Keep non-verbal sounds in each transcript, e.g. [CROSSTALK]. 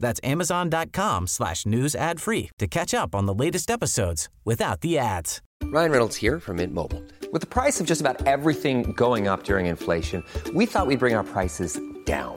That's amazon.com slash news ad free to catch up on the latest episodes without the ads. Ryan Reynolds here from Mint Mobile. With the price of just about everything going up during inflation, we thought we'd bring our prices down.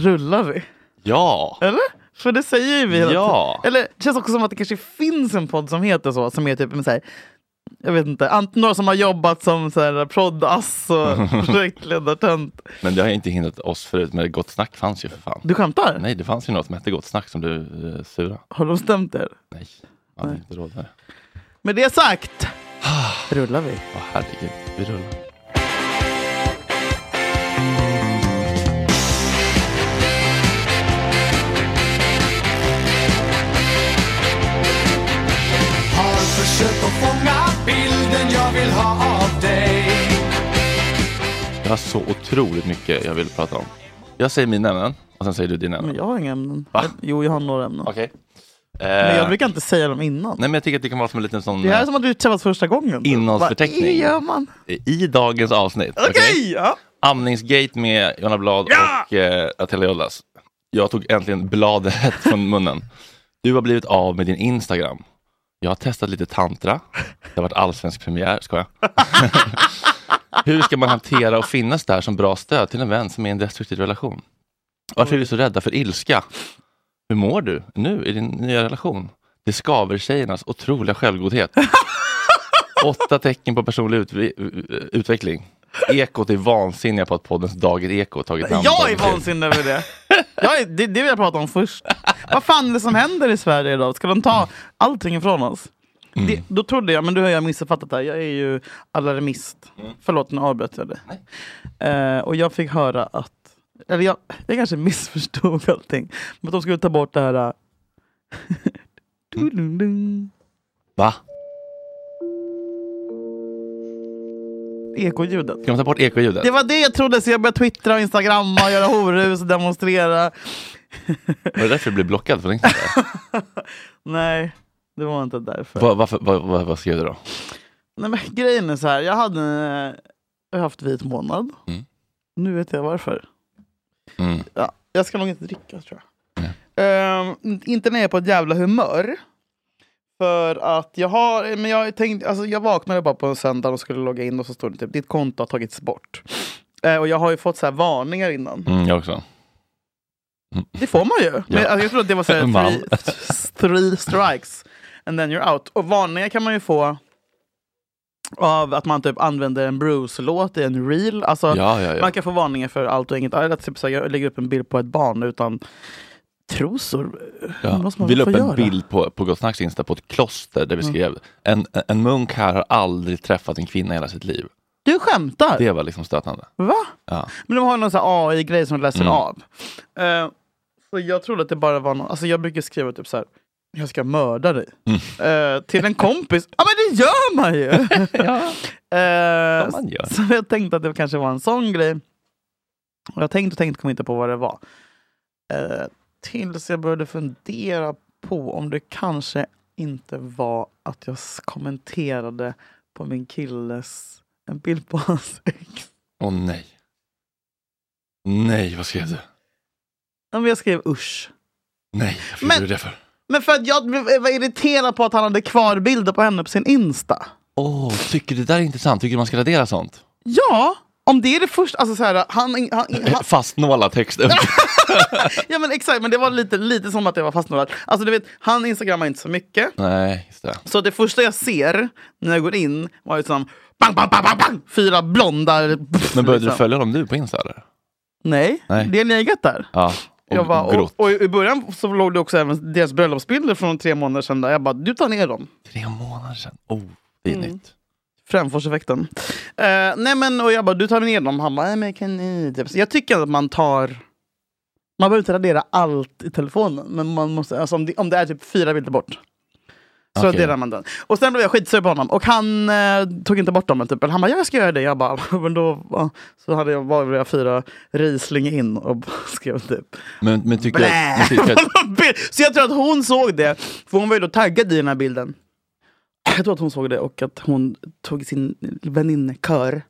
Rullari? Ja! Eller? För det säger ju vi hela Ja. tiden. Eller det känns också som att det kanske finns en podd som heter så, som är typ med så här, jag vet inte, ant- några som har jobbat som så här proddass och [LAUGHS] projektledartönt. Men det har ju inte hindrat oss förut, men Gott Snack fanns ju för fan. Du skämtar? Nej, det fanns ju något som hette Gott Snack som du eh, sura. Har de stämt er? Nej, man hade inte råd med det. Med [SIGHS] det sagt rullar vi. Åh herregud, vi rullar. Har försökt att fånga bilden jag vill ha av dig Jag har så otroligt mycket jag vill prata om. Jag säger mina ämnen och sen säger du dina Men ämnen. jag har inga ämnen. Va? Jo, jag har några ämnen. Okej. Men jag Eh, brukar inte säga dem innan. Nej men jag tycker att det kan vara som en liten sån... Det här är eh, som att vi träffas första gången. Innehållsförteckning. Vad gör man? eh, I dagens avsnitt. Okej! okej? Ja. Amningsgate med Jonna Blad och eh, Attilda Jollas. Jag tog äntligen bladet [LAUGHS] från munnen. Du har blivit av med din Instagram. Jag har testat lite tantra. Det har varit allsvensk premiär, ska jag. [LAUGHS] Hur ska man hantera och finnas där som bra stöd till en vän som är i en destruktiv relation? Varför är vi så rädda för ilska? Hur mår du nu i din nya relation? Det skaver tjejernas otroliga självgodhet. Åtta tecken på personlig utvi- utveckling. Ekot är vansinniga på att poddens Dagen Eko tagit namn. Jag är Dagen till. vansinnig över det. Jag är, det. Det vill jag prata om först. Vad fan är det som händer i Sverige idag? Ska de ta allting ifrån oss? Det, då trodde jag, men du har jag missuppfattat det här. Jag är ju alarmist. Förlåt, nu avbröt jag dig. Eh, och jag fick höra att, eller jag, jag kanske missförstod allting, men att de skulle ta bort det här... eh, dun-dun-dun. Va? [LAUGHS] Ekoljudet. Ska man ta bort ekoljudet? Det var det jag trodde, så jag började twittra och instagramma, göra horhus och demonstrera. Var det därför du blev blockad från Instagram? Nej, det var inte därför. vad, varför, vad, vad, vad skrev du då? Nej, men grejen är så här, jag hade eh, jag har haft vit månad. Mm. Nu vet jag varför. Mm. Ja, jag ska nog inte dricka tror jag. Ehm, in- inte när jag är på ett jävla humör. För att jag har, men jag tänkte, alltså jag vaknade bara på en söndag och skulle logga in och så stod det typ ditt konto har tagits bort. Eh, och jag har ju fått så här varningar innan. Mm, jag också. Det får man ju. Men, alltså, jag tror att det var så [LAUGHS] här, Man. three, three strikes and then you're out. Och varningar kan man ju få av att man typ använder en Bruce-låt i en reel. Alltså, Ja, ja, ja. Man kan få varningar för allt och inget. Eller typ så här, jag lägger upp en bild på ett barn utan trosor. Det Ja. måste man Vi väl la upp få en göra. Mm. bild på, på Gott Snacks Insta på ett kloster där vi skrev en, en munk här har aldrig träffat en kvinna i hela sitt liv. Du skämtar? Det var liksom stötande. Va? Ja. Men de har någon sån här AI-grej som läser Mm. av. Eh, så jag trodde att det bara var någon, alltså jag brukar skriva typ så här. Jag ska mörda dig. Mm. Eh, till en kompis. Ja men det gör man [LAUGHS] ju! Eh, man gör. Så jag tänkte att det kanske var en sån grej. Och jag tänkte och tänkte kom inte på vad det var. Eh, tills jag började fundera på om det kanske inte var att jag s- kommenterade på min killes, en bild på hans ex. Åh nej. Nej, vad skrev du? Ja, men Jag skrev usch. Nej, varför Men- gjorde du det för? Men för att jag blev- eh, var irriterad på att han hade kvar bilder på henne på sin Insta. Åh, tycker du det där är intressant? Tycker du man ska radera sånt? Ja, om det är det första, alltså så här, han, han, han, Eh, Fastnåla [LAUGHS] texten. ja men exakt, men det var lite, lite som att jag var fastnålad. Alltså du vet, han instagrammar inte så mycket. nej, just det. Så det första jag ser när jag går in var liksom bang, bang, bang, bang, bang, fyra blonda. Men började du följa dem nu på Insta eller? Nej, Nej. det har legat där. Ja, och jag bara, och, grott. och i början så låg det också även deras bröllopsbilder från tre månader sedan. Där. Jag bara, du tar ner dem. Tre månader sedan. Oh, Mm. pinigt. Framforseffekten. Eh, nej men, och jag bara, du tar ner dem. Han bara, nej men kan ni... typ. Så Jag tycker att man tar... Man behöver inte radera allt i telefonen, men man måste, alltså om, det, om det är typ fyra bilder bort. Så Okej. raderar man den. Och sen blev jag skitsur på honom. Och han eh, tog inte bort dem. Typ. Eller Han bara, jag ska göra det. Jag bara, [LAUGHS] men då... ja. Så hade jag, var jag fyra Riesling in och [LAUGHS] skrev typ... Men, men tycker du Blä! att... men tycker du att [LAUGHS] så jag tror att hon såg det, för hon var ju då taggad i den här bilden. Jag tror att hon såg det och att hon tog sin väninnekör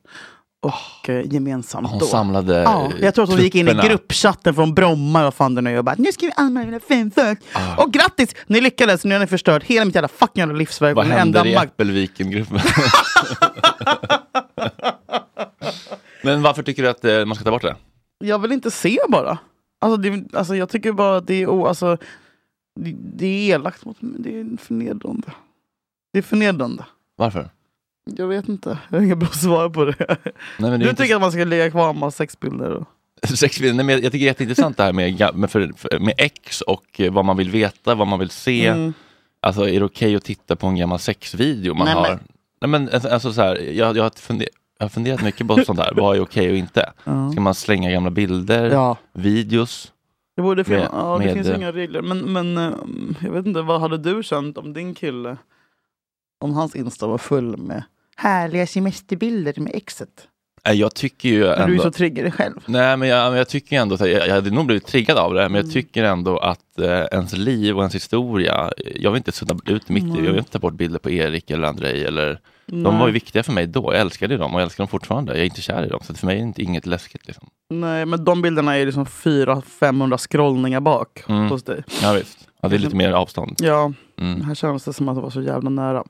och eh, gemensamt hon då. samlade Ja, jag tror att hon gick in i trupperna? gruppchatten från Bromma och fan det nu och bara nu ska vi anmäla fem folk. Ah. Och grattis! Ni lyckades, nu har ni förstört hela mitt jävla fucking jävla livsverk. Vad och den enda händer i makt- [LAUGHS] Äppelviken-gruppen? men varför tycker du att eh, man ska ta bort det? jag vill inte se bara. Alltså, det, alltså jag tycker bara att det är, o- alltså, det, det är elakt mot mig. Det är förnedrande. Det är förnedrande. Varför? Jag vet inte. Jag har inga bra [LAUGHS] svar på det. Nej, men det är Du inte- tycker att man ska ligga kvar med sexbilder? Och... [LAUGHS] Sex bilder. Nej, men jag tycker det är jätteintressant det här med, ga- med, för, för, med ex och eh, vad man vill veta, vad man vill se. Mm. Alltså är det okej att titta på en gammal sexvideo man Nej, men- har? Nej men alltså- alltså så här, jag, jag, har funde- jag har funderat mycket på sånt här, vad är okej och inte? Ska man slänga gamla bilder, Ja. videos? Det, borde fin- Med- ja, det med- finns inga regler. Men, men eh, jag vet inte, vad hade du känt om din kille, om hans Insta var full med härliga semesterbilder med exet? Nej, Jag tycker ju Men ändå... du är ju så trigger själv. Nej, men jag, men jag tycker ändå, att jag, jag hade nog blivit triggad av det, men Mm. jag tycker ändå att eh, ens liv och ens historia, eh, jag vill inte sudda ut mitt liv, jag vill inte ta bort bilder på Erik eller Andrei eller De var ju viktiga för mig då, jag älskade ju dem och jag älskar dem fortfarande. Jag är inte kär i dem, så för mig är det inte, inget läskigt. Liksom. Nej, men de bilderna är liksom 400-500 scrollningar bak Mm. hos dig. Ja, visst. Ja, det är lite mer avstånd. Ja, Mm. här känns det som att det var så jävla nära.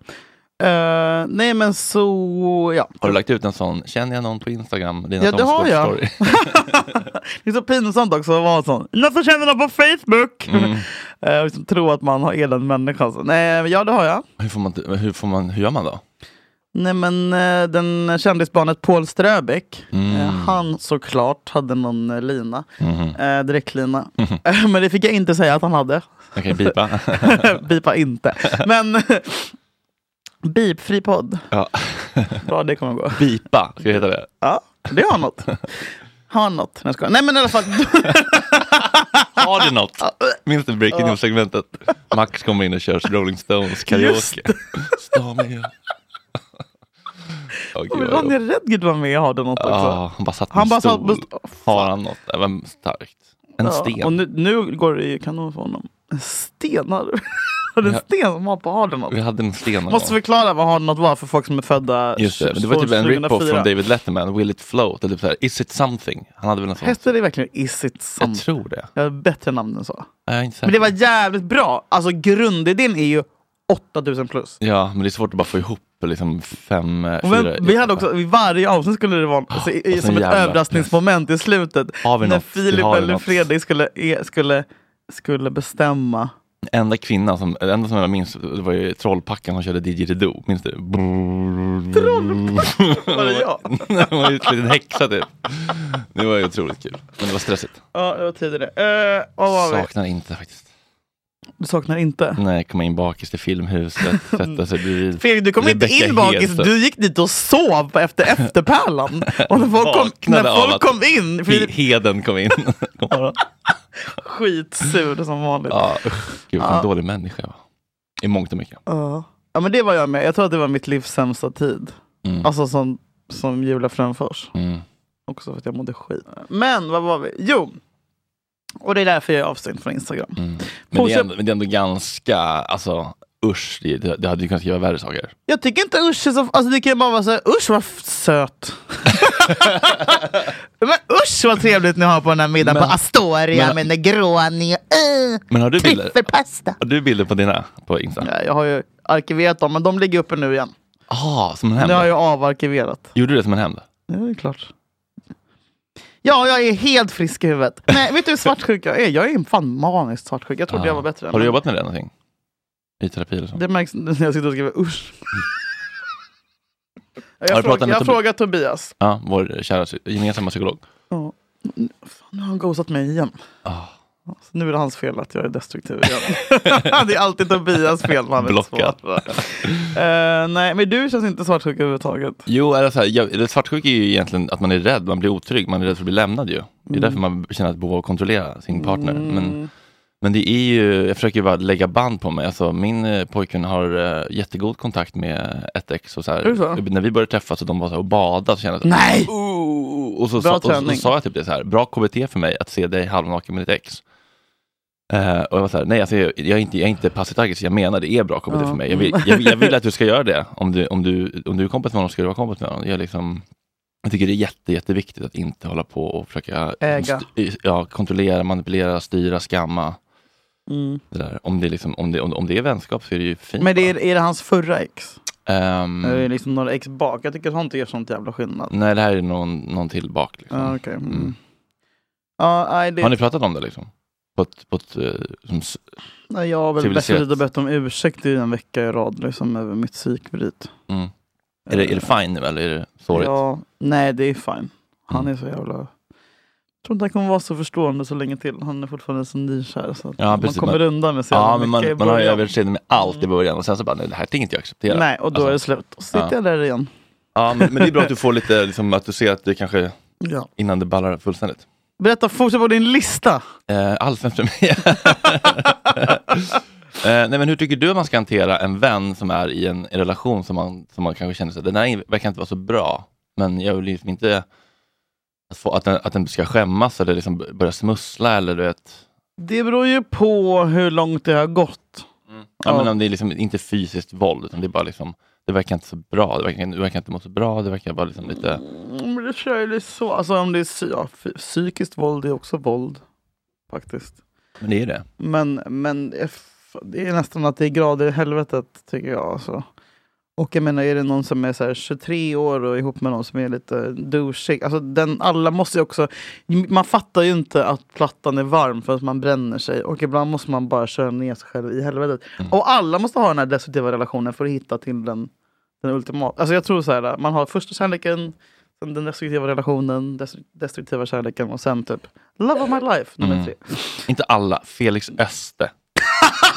Eh, nej men så, ja. Har du lagt ut en sån, känner jag någon på Instagram? Dina Ja, det har jag. Story. Det är så pinsamt också att vara sån. Någon som känner någon på Facebook! [LAUGHS] Eh, och liksom tro att man har är den människan. Så, Nej, men ja det har jag. [LAUGHS] Hur, får man, hur, får man, hur gör man då? Nej men eh, den kändisbarnet Paul Ströbeck, eh, han såklart hade någon eh, lina. Eh, direktlina. Eh, men det fick jag inte säga att han hade. [LAUGHS] Jag kan ju pipa. Bipa inte. Men [LAUGHS] bipfri podd. ja. Bra det kommer gå. Bipa, ska det heta det? Ja, det har något. Har något. Nej, jag skojar. Nej men i alla fall. [LAUGHS] Har du något? Minns du Breaking News-segmentet? Max kommer in och kör Rolling Stones Just karaoke. Stå mig. Åh, gud, vad Ah. Han är jobbigt. rädd Gud var med och hade något också. Ja, han bara satt på Han en bara satt på stol. st- Åh, Har han något? Det var starkt. En Och sten. nu, nu går det ju kanon för honom. En sten? Har du [LAUGHS] Har du en Ja. sten som har på Hardenock? Vi hade en sten. någon Måste gång. förklara vad Hardenock var för folk som är födda Just det, men det var typ en 2004. rip-off från David Letterman, Will it float? Eller typ såhär, is it something? Han hade väl en sån? Hette det verkligen Is it Jag something? tror det. Jag har bättre namn än så. Nej, Jag är inte säker. Men det var jävligt bra. Alltså grundidén är ju 8000 plus. Ja, men det är svårt att bara få ihop liksom fem, eh, Och fyra... Ah, Men, vi hade också, i varje avsnitt skulle det vara så, i, och som sen ett jävla överraskningsmoment i slutet. Har vi när något? Vi Filip har eller något. Fredrik skulle, e- skulle, skulle bestämma. Den enda kvinnan som, den enda som jag minns det var ju Trollpackan som körde Didgeridoo. Minns du? Trollpackan? [LAUGHS] Var det jag? Hon var ju en liten häxa typ. Det var ju otroligt kul. Men det var stressigt. Ja, det var tidigare. Uh, vad var vi? Saknar inte faktiskt. Du saknar inte? Nej, komma in bakis till filmhuset, sätta sig bredvid. [LAUGHS] Fredrik, du kom inte Rebecca in bakis. Hedström. Du gick dit och sov efter [LAUGHS] efterpärlan. Och när folk kom, när Vaknade av folk att- kom in, He- Fredrik Heden kom in. God morgon. skitsur som vanligt. [LAUGHS] Ja. Ja, usch, gud vilken dålig människa jag var. I mångt och mycket. ja, men det var jag med. Jag tror att det var mitt livs sämsta tid. Mm. Alltså som, som Julia Fränfors. Mm. Också för att jag mådde skit. Men vad var vi? Jo, och det är därför jag är avstängd från Instagram. Mm. Men, det Fortsätt. är ändå, men det är ändå ganska, alltså usch, det, det, det hade ju kunnat göra värre saker. Jag tycker inte usch är så... Alltså det kan ju bara vara så här, usch vad f- söt. [LAUGHS] men usch vad trevligt ni har på den här middagen Men- på Astoria men- med Negroni och uh, Men har du bilder? tryffelpasta. Har du bilder på dina på Insta? Ja, jag har ju arkiverat dem, men de ligger uppe nu igen. Ah, som en Det hämnd? har jag avarkiverat. Gjorde du det som en hämnd? Ja, det är klart. Ja, jag är helt frisk i huvudet. Nej, vet du hur svartsjuk jag är? Jag är fan maniskt svartsjuk. Jag trodde Ah. jag var bättre. Har du men jobbat med det någonting? I terapi eller så? Det märks när jag sitter och [LAUGHS] skriver usch. Har du Jag, pratat frågar, med jag Tobi- frågar Tobias. Ja, vår kära sy- gemensamma psykolog. Ja. Fan, nu har han ghostat mig igen. Ah. Så nu är det hans fel att jag är destruktiv igen. [LAUGHS] det är alltid Tobias fel. Man Blockad. Uh, nej, men du känns inte svartsjuk överhuvudtaget. Jo, eller så här, jag, eller svartsjuk är ju egentligen att man är rädd, man blir otrygg, man är rädd för att bli lämnad ju. Det Mm. är därför man känner ett behov av att kontrollera sin partner. Men, men det är ju, jag försöker ju bara lägga band på mig. Alltså, min eh, pojkvän har eh, jättegod kontakt med ett ex. Och så här, Är det så? När vi började träffas och de var så här och badade så kände jag så här, Nej! "Ooh." Och så, Bra sa, och, så, och så träning. sa jag typ det så här, bra KBT för mig att se dig halvnaken med ditt ex. Eh, och jag var så här, nej alltså, jag, jag, är inte, jag är inte passivt aggressiv, jag menar det är bra KBT Ja. för mig. Jag vill, jag, vill- jag vill att du ska göra det. Om du, om du, om du är kompis med någon ska du vara kompis med någon. Jag, liksom, jag tycker det är jätte, jätteviktigt att inte hålla på och försöka Äga. st- ja, kontrollera, manipulera, styra, skamma. Mm. Det där. Om, det är liksom, om, det, om, om det är vänskap så är det ju fint. Men det va? är, är det hans förra ex? Ehm, Eller är det liksom några ex bak? Jag tycker sånt gör sånt jävla skillnad. nej, det här är någon, någon till bak. Liksom. Ja, okej. Mm. Mm. Ja, nej, det, Har ni pratat om det? Liksom? På ett, på ett, eh, som, s- nej, jag har väl bett civiliserat? Frida bett om ursäkt i en vecka i rad liksom, över mitt psykbryt. mm. är, det, är det fine nu eller är det sårigt? Ja, nej, det är fine. Han Mm. är så jävla... Jag tror inte han kommer vara så förstående så länge till. Han är fortfarande så nykär. Så att Ja, man precis, kommer men- undan med så jävla Ja, men mycket i man, man har ju början. Mm. överseende med allt i början och sen så bara, nej, det här tänker inte jag acceptera. Nej, och då Alltså, är det slut. Och så sitter ja. jag där igen. Ja, men, men det är bra att du får lite, liksom, att du ser att det kanske Ja. innan det ballar fullständigt. Berätta, fortsätt på din lista. Eh, Allsvensk premiär. [LAUGHS] eh, nej, men hur tycker du att man ska hantera en vän som är i en, en relation som man, som man kanske känner sig, den här verkar inte vara så bra, men jag vill liksom inte att, få, att, den, att den ska skämmas eller liksom börja smussla eller du vet. Det beror ju på hur långt det har gått. Ja, Ja. Men om det är liksom inte fysiskt våld, utan det är bara liksom, det verkar inte så bra, det verkar, du verkar inte må så bra, det verkar bara liksom lite... Mm, men det kör ju lite så. Alltså om det är psy- ja, fy- psykiskt våld, det är också våld. Faktiskt. Men det är det. Men, men det är f- det är nästan att det är grader i helvetet tycker jag. Alltså. Och jag menar, är det någon som är så här 23 år och ihop med någon som är lite douchig. Alltså den, alla måste ju också... Man fattar ju inte att plattan är varm för att man bränner sig. Och ibland måste man bara köra ner sig själv i helvetet. Och alla måste ha den här destruktiva relationen för att hitta till den, den ultimata. Alltså jag tror så här, man har första kärleken, sen den destruktiva relationen, destru- destruktiva kärleken och sen typ Love of my life, nummer Mm. tre. Inte alla, Felix [LAUGHS] Öste.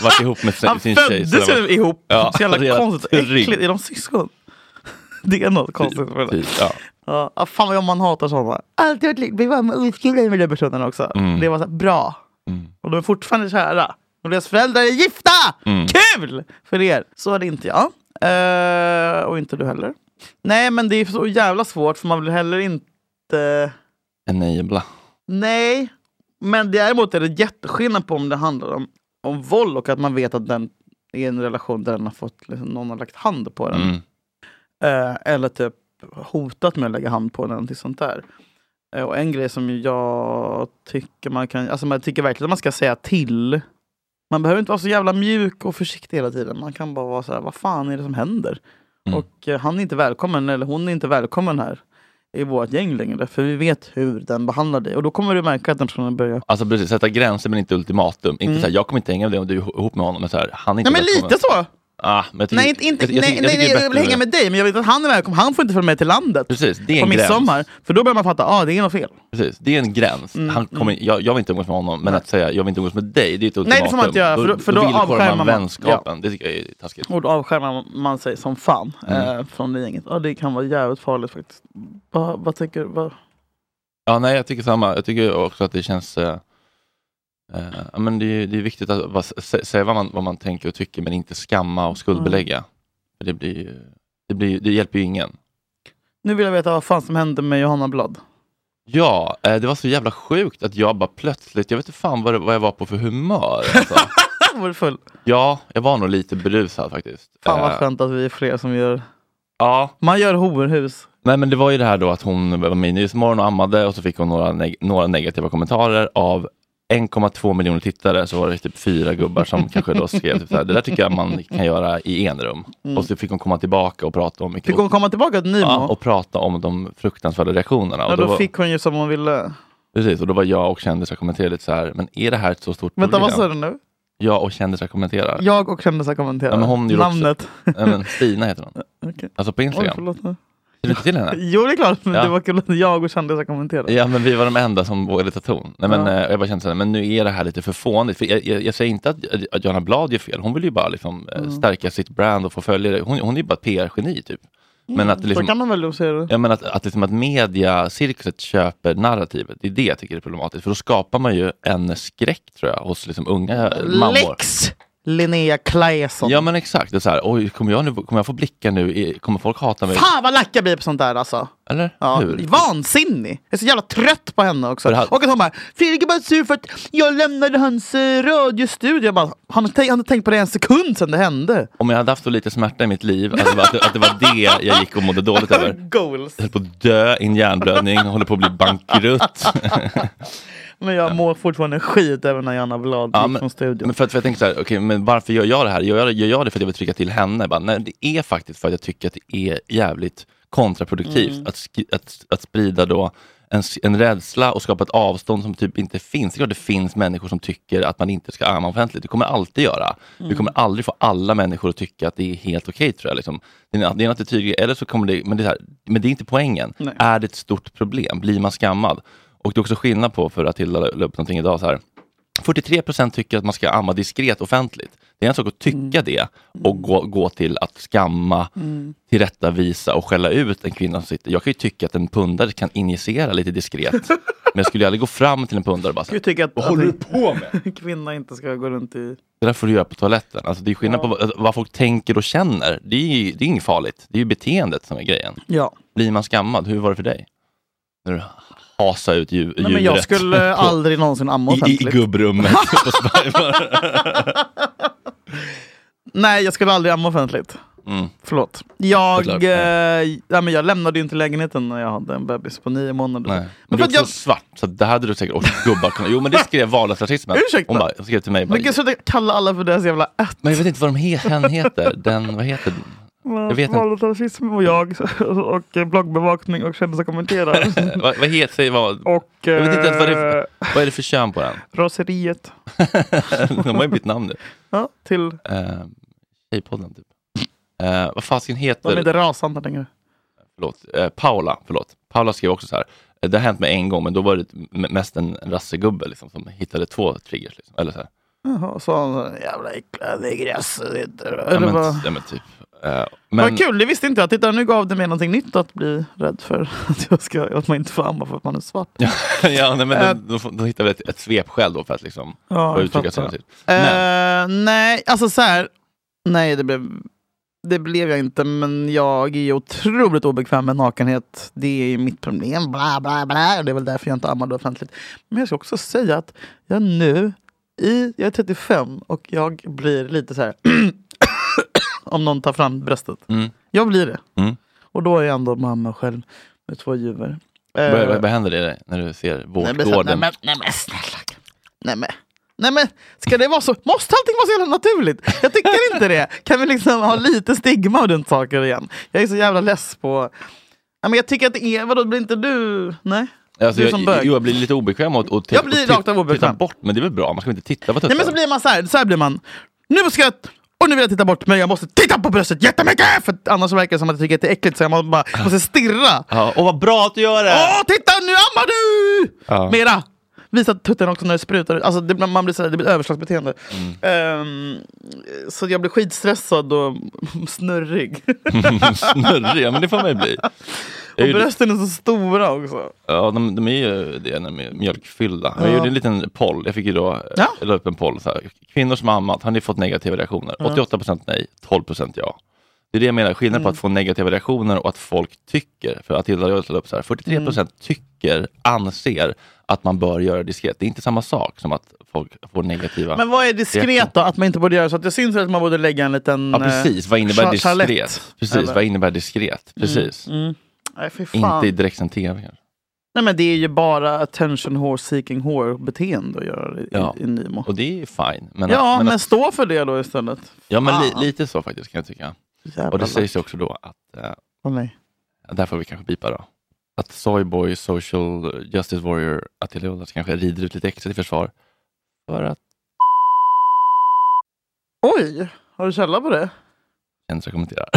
Vart ihop med sin, Han sin tjej. så det föddes var- ju ihop. Ja, så jävla det är konstigt. rygg. Äckligt. Är de syskon? [LAUGHS] Det är något konstigt med det. Typ, ja. Ja, ah, fan vad man hatar sådana. Alltid varit lycklig, var med oskulden med den personen också. Mm. Det var så här, bra. Mm. Och de är fortfarande kära. Och deras föräldrar är gifta! Mm. Kul! För er. Så är det inte jag. Eh, och inte du heller. Nej men det är så jävla svårt för man vill heller inte... Enabla. Nej, men däremot är det jätteskillnad på om det handlar om, om våld och att man vet att den är en relation där den har fått, liksom, någon har lagt hand på den. Mm. Eh, eller typ hotat med att lägga hand på den eller någonting sånt där. Eh, och en grej som jag tycker man kan, alltså man tycker verkligen att man ska säga till. Man behöver inte vara så jävla mjuk och försiktig hela tiden. Man kan bara vara så här, vad fan är det som händer? Mm. Och eh, han är inte välkommen, eller hon är inte välkommen här i vårt gäng längre. För vi vet hur den behandlar dig. Och då kommer du märka att den personen börjar... Alltså precis, sätta gränser men inte ultimatum. Inte Mm. såhär, jag kommer inte hänga med dig om du är ihop med honom. Men såhär, han är inte Ja men välkommen. lite så! Ah, men jag tycker, Nej, inte, inte, jag, jag, nej, tycker- nej, jag, tycker nej, det är jag vill bättre hänga med- med dig, men jag vet att han är välkommen. Han får inte följa med till landet. Precis, det är på en midsommar. gräns. För då börjar man fatta, ah, det är något fel. Precis, det är en gräns. Mm, Han kommer, jag, jag vill inte umgås med honom, men att säga jag vill inte umgås med dig, det är ett ultimatum. Nej, det får man inte göra, för då- för då villkorar avskärmar man. vänskapen. Det tycker jag är taskigt. Och då avskärmar man sig som fan Mm. eh, från det gänget. Ja, det kan vara jävligt farligt faktiskt. Vad, vad tänker du? Vad? Ja, nej, jag tycker samma. Jag tycker också att det känns... Eh, eh, ja, men det, är, det är viktigt att va, sä, säga vad man, vad man tänker och tycker, men inte skamma och skuldbelägga. Mm. För Det, blir, ju- det, blir, det hjälper ju ingen. Nu vill jag veta vad fan som hände med Johanna Blad. [LAUGHS] Ja, eh, det var så jävla sjukt att jag bara plötsligt, jag vet inte fan vad, det, vad jag var på för humör. [LAUGHS] Alltså. Ah, Var du full? ja, jag var nog lite berusad faktiskt. Fan vad Eh, skönt att vi är fler som gör... Ja, Man gör horhus. Nej men det var ju det här då att hon var med i Nyhetsmorgon och ammade och så fick hon några, neg- några negativa kommentarer av 1,2 miljoner tittare så var det typ fyra gubbar [LAUGHS] som kanske då skrev typ så här, det där tycker jag man kan göra i enrum. Och så fick hon komma tillbaka och prata om Mm. Fick hon komma tillbaka till Nymo? Ja, och prata om de fruktansvärda reaktionerna. ja, och, då, var, fick hon ju som hon ville. precis, och då var jag och kändisar kommenterade lite så här, men är det här ett så stort Vänta, vad sa problem? du nu? Jag och kändisar kommenterar. Jag och kändisar kommenterar. Ja, men hon gjorde också- [LAUGHS] Namnet. Nej, men Stina heter hon. Okej. Alltså på Oj, Instagram. förlåt. du inte till henne? Jo, det är klart. Men Ja. det var kul att jag och kändisar kommenterade. Ja, men vi var de enda som vågade ta ton. Nej, men, Alltså. Ja. eh, Jag bara kände så här, men nu är det här lite för fånigt. För jag, jag, jag säger inte att, att Johanna Blad gör fel. Hon vill ju bara liksom, Mm. eh, stärka sitt brand och få följare. Hon, hon är ju bara ett PR-geni typ. Men att, Mm, Så liksom, kan man väl då säga det. ja, men att, att, liksom, att mediacirkuset köper narrativet, det är det jag tycker är problematiskt. För då skapar man ju en skräck tror jag hos liksom, unga eh, mammor. Lex Linnea Claesson. Ja men exakt, det är så här, oj kommer jag, nu, kommer jag få blickar nu? I- Kommer folk hata mig? Fan vad lack jag blir på sånt där alltså. Eller Ja, hur? vansinnig! Jag är så jävla trött på henne också. För han- Och att hon bara, Fredrik är bara sur för att jag lämnade hans eh, radiostudio. Jag bara, han har tänkt- han har tänkt på det en sekund sedan det hände. Om jag hade haft så lite smärta i mitt liv, att det var, att det, att det, var det jag gick och mådde dåligt över. Goals. Jag höll på att dö i en hjärnblödning, håller på att bli bankrutt. Men jag mår fortfarande skit även när Janna Blad Ja, gick men, från studion. men för att, för jag tänker så här, okej, men varför gör jag det här? Gör jag, gör jag det för att jag vill trycka till henne? Jag Bara, nej, det är faktiskt för att jag tycker att det är jävligt kontraproduktivt att, skri- att, att sprida då en, s- en rädsla och skapa ett avstånd som typ inte finns. Det är klart det finns människor som tycker att man inte ska amma offentligt. Det kommer jag alltid göra. Du kommer aldrig få alla människor att tycka att det är helt okej tror jag. Liksom. Det är en- det är en attityd, eller så kommer det, men det är, så här, men det är inte poängen. Är det ett stort problem? Blir man skammad? Och det är också skillnad på, för Matilda la upp någonting idag så här, 43 procent tycker att man ska amma diskret offentligt. Det är en sak att tycka Mm. det och gå, gå till att skamma, tillrättavisa och skälla ut en kvinna som sitter. Jag kan ju tycka att en pundare kan injicera lite diskret. [LAUGHS] men jag skulle ju aldrig gå fram till en pundare och bara så här, Jag tycker att, Vad håller du på med? att en [LAUGHS] kvinna inte ska gå runt i... Det där får du göra på toaletten. Alltså det är skillnad på vad, vad folk tänker och känner. Det är ju det är inget farligt. Det är ju beteendet som är grejen. Ja. Blir man skammad, hur var det för dig? När du hasade ut djur, Nej, men jag djuret skulle [LAUGHS] på- aldrig någonsin amma i, i offentligt. [LAUGHS] gubbrummet. på Spiderman. Nej, jag skulle aldrig amma offentligt. mm. Förlåt. Jag, Såklart. eh, ja, men jag lämnade ju inte lägenheten när jag hade en bebis på nio månader. Nej. Men, Men, för du att är jag... också svart, så det hade du säkert orkat gubbar kunna... Jo men det skrev vardagsrasismen. [LAUGHS] Ursäkta. Hon bara, hon skrev till mig. Bara, Men gud, sluta kalla alla för deras jävla ät. men jag vet inte vad de he- hen heter. Den, vad heter den? Jag vet inte. Valutarism och jag [LAUGHS] och eh, bloggbevakning och [LAUGHS] kändisar kommenterar. Eh, Vad, vad heter sig vad? och Jag vet inte ens vad det är eh, för, vad är det för kön på den. [LAUGHS] raseriet. De har ju bytt namn nu. Ja, till, Eh, Tjejpodden typ. Eh, vad fasiken de är heter inte rasande längre. förlåt, eh, Paula, förlåt. Paula skrev också så här. eh, Det har hänt mig en gång, men då var det m- mest en rassegubbe liksom, som hittade två triggers. Liksom. Eller så här. Jaha, så han så här, jävla äckliga digress. Ja, Eller men, vad? ja, men typ. Eh, men, Vad kul, det visste inte jag. Titta, nu gav det mig någonting nytt att bli rädd för. [LAUGHS] Att, jag ska, att man inte får amma för att man är svart. [LAUGHS] ja, nej, men Eh. de, de, får- de hittar väl ett, ett svepskäl då för att liksom, Ja, få jag uttrycka sig. fattar. naturligt. Men, Eh, nej, alltså så här. Nej, det blev, det blev jag inte. Men jag är ju otroligt obekväm med nakenhet. Det är ju mitt problem. Bla, bla, bla. Det är väl därför jag inte ammade offentligt. Men jag ska också säga att jag nu, i, jag är 35 och jag blir lite så här. [COUGHS] om någon tar fram bröstet. Mm. Jag blir det. Mm. Och då är jag ändå mamma själv med två djur. Eh, vad, vad, vad händer i dig när du ser Nej men, så- nej, vårtgården? men, nej men snälla. Nej men. Nej men, ska det vara så? Måste allting vara så jävla naturligt? Jag tycker inte det. Kan vi liksom ha lite stigma runt saker igen? Jag är så jävla less på... Ja, men jag tycker att det är... Vadå, blir inte du... Nej? Alltså, du jag, är som jag, bög. jag blir lite obekväm och, och, Jag blir och rakt av obekväm. titta bort, men det är väl bra, man ska väl inte titta på tuttar? Nej men så blir man så här, så här blir man. Nu ska jag... Och nu vill jag titta bort, men jag måste titta på bröstet jättemycket! För att annars verkar det som att jag tycker att det är äckligt, så jag må- bara, måste stirra. ja, och vad bra att du gör det! Åh, titta nu ammar du! Äh. Ja. Mera! Visa tutten också när det sprutar ut. Alltså, det, man blir sådär, det blir ett överslagsbeteende. Mm. Ehm, så jag blir skitstressad och [LAUGHS] snurrig. [LAUGHS] Snurrig, ja, men det får man ju bli. Och Jag gjorde- brösten är så stora också. Ja, de, de är ju det, när de är mjölkfyllda. Jag gjorde en liten poll, jag fick ju då, Ja. jag la upp en poll, så här, kvinnor som har ammat, har ni fått negativa reaktioner? 88% nej, 12% ja. Det är det jag menar, skillnaden Mm. på att få negativa reaktioner och att folk tycker, för Matilda och jag la upp så här, 43% Mm. tycker, anser att man bör göra diskret. Det är inte samma sak som att folk får negativa... Men vad är diskret då? Att man inte borde göra så? Att det syns väl att man borde lägga en liten... ja, precis. Vad innebär cha- chalett, diskret? Precis, eller? vad innebär diskret? Precis. eh, mm. Nej, fy fan. Inte i direktsänd tv kanske. Nej, men det är ju bara attention whore seeking whore beteende att göra i, Ja. i, i Nimo. Och det är ju fine. Men, Ja, men, men, stå för det då istället. ja, men li, Fan. lite så faktiskt kan jag tycka. Jävla Och det sägs ju också då att, eh, Åh, nej. där får vi kanske bipa då, att Soyboy, Social Justice Warrior, Attila Jonas kanske rider ut lite extra till försvar. För att Oj, har du källa på det? ens jag [LAUGHS] kommenterar.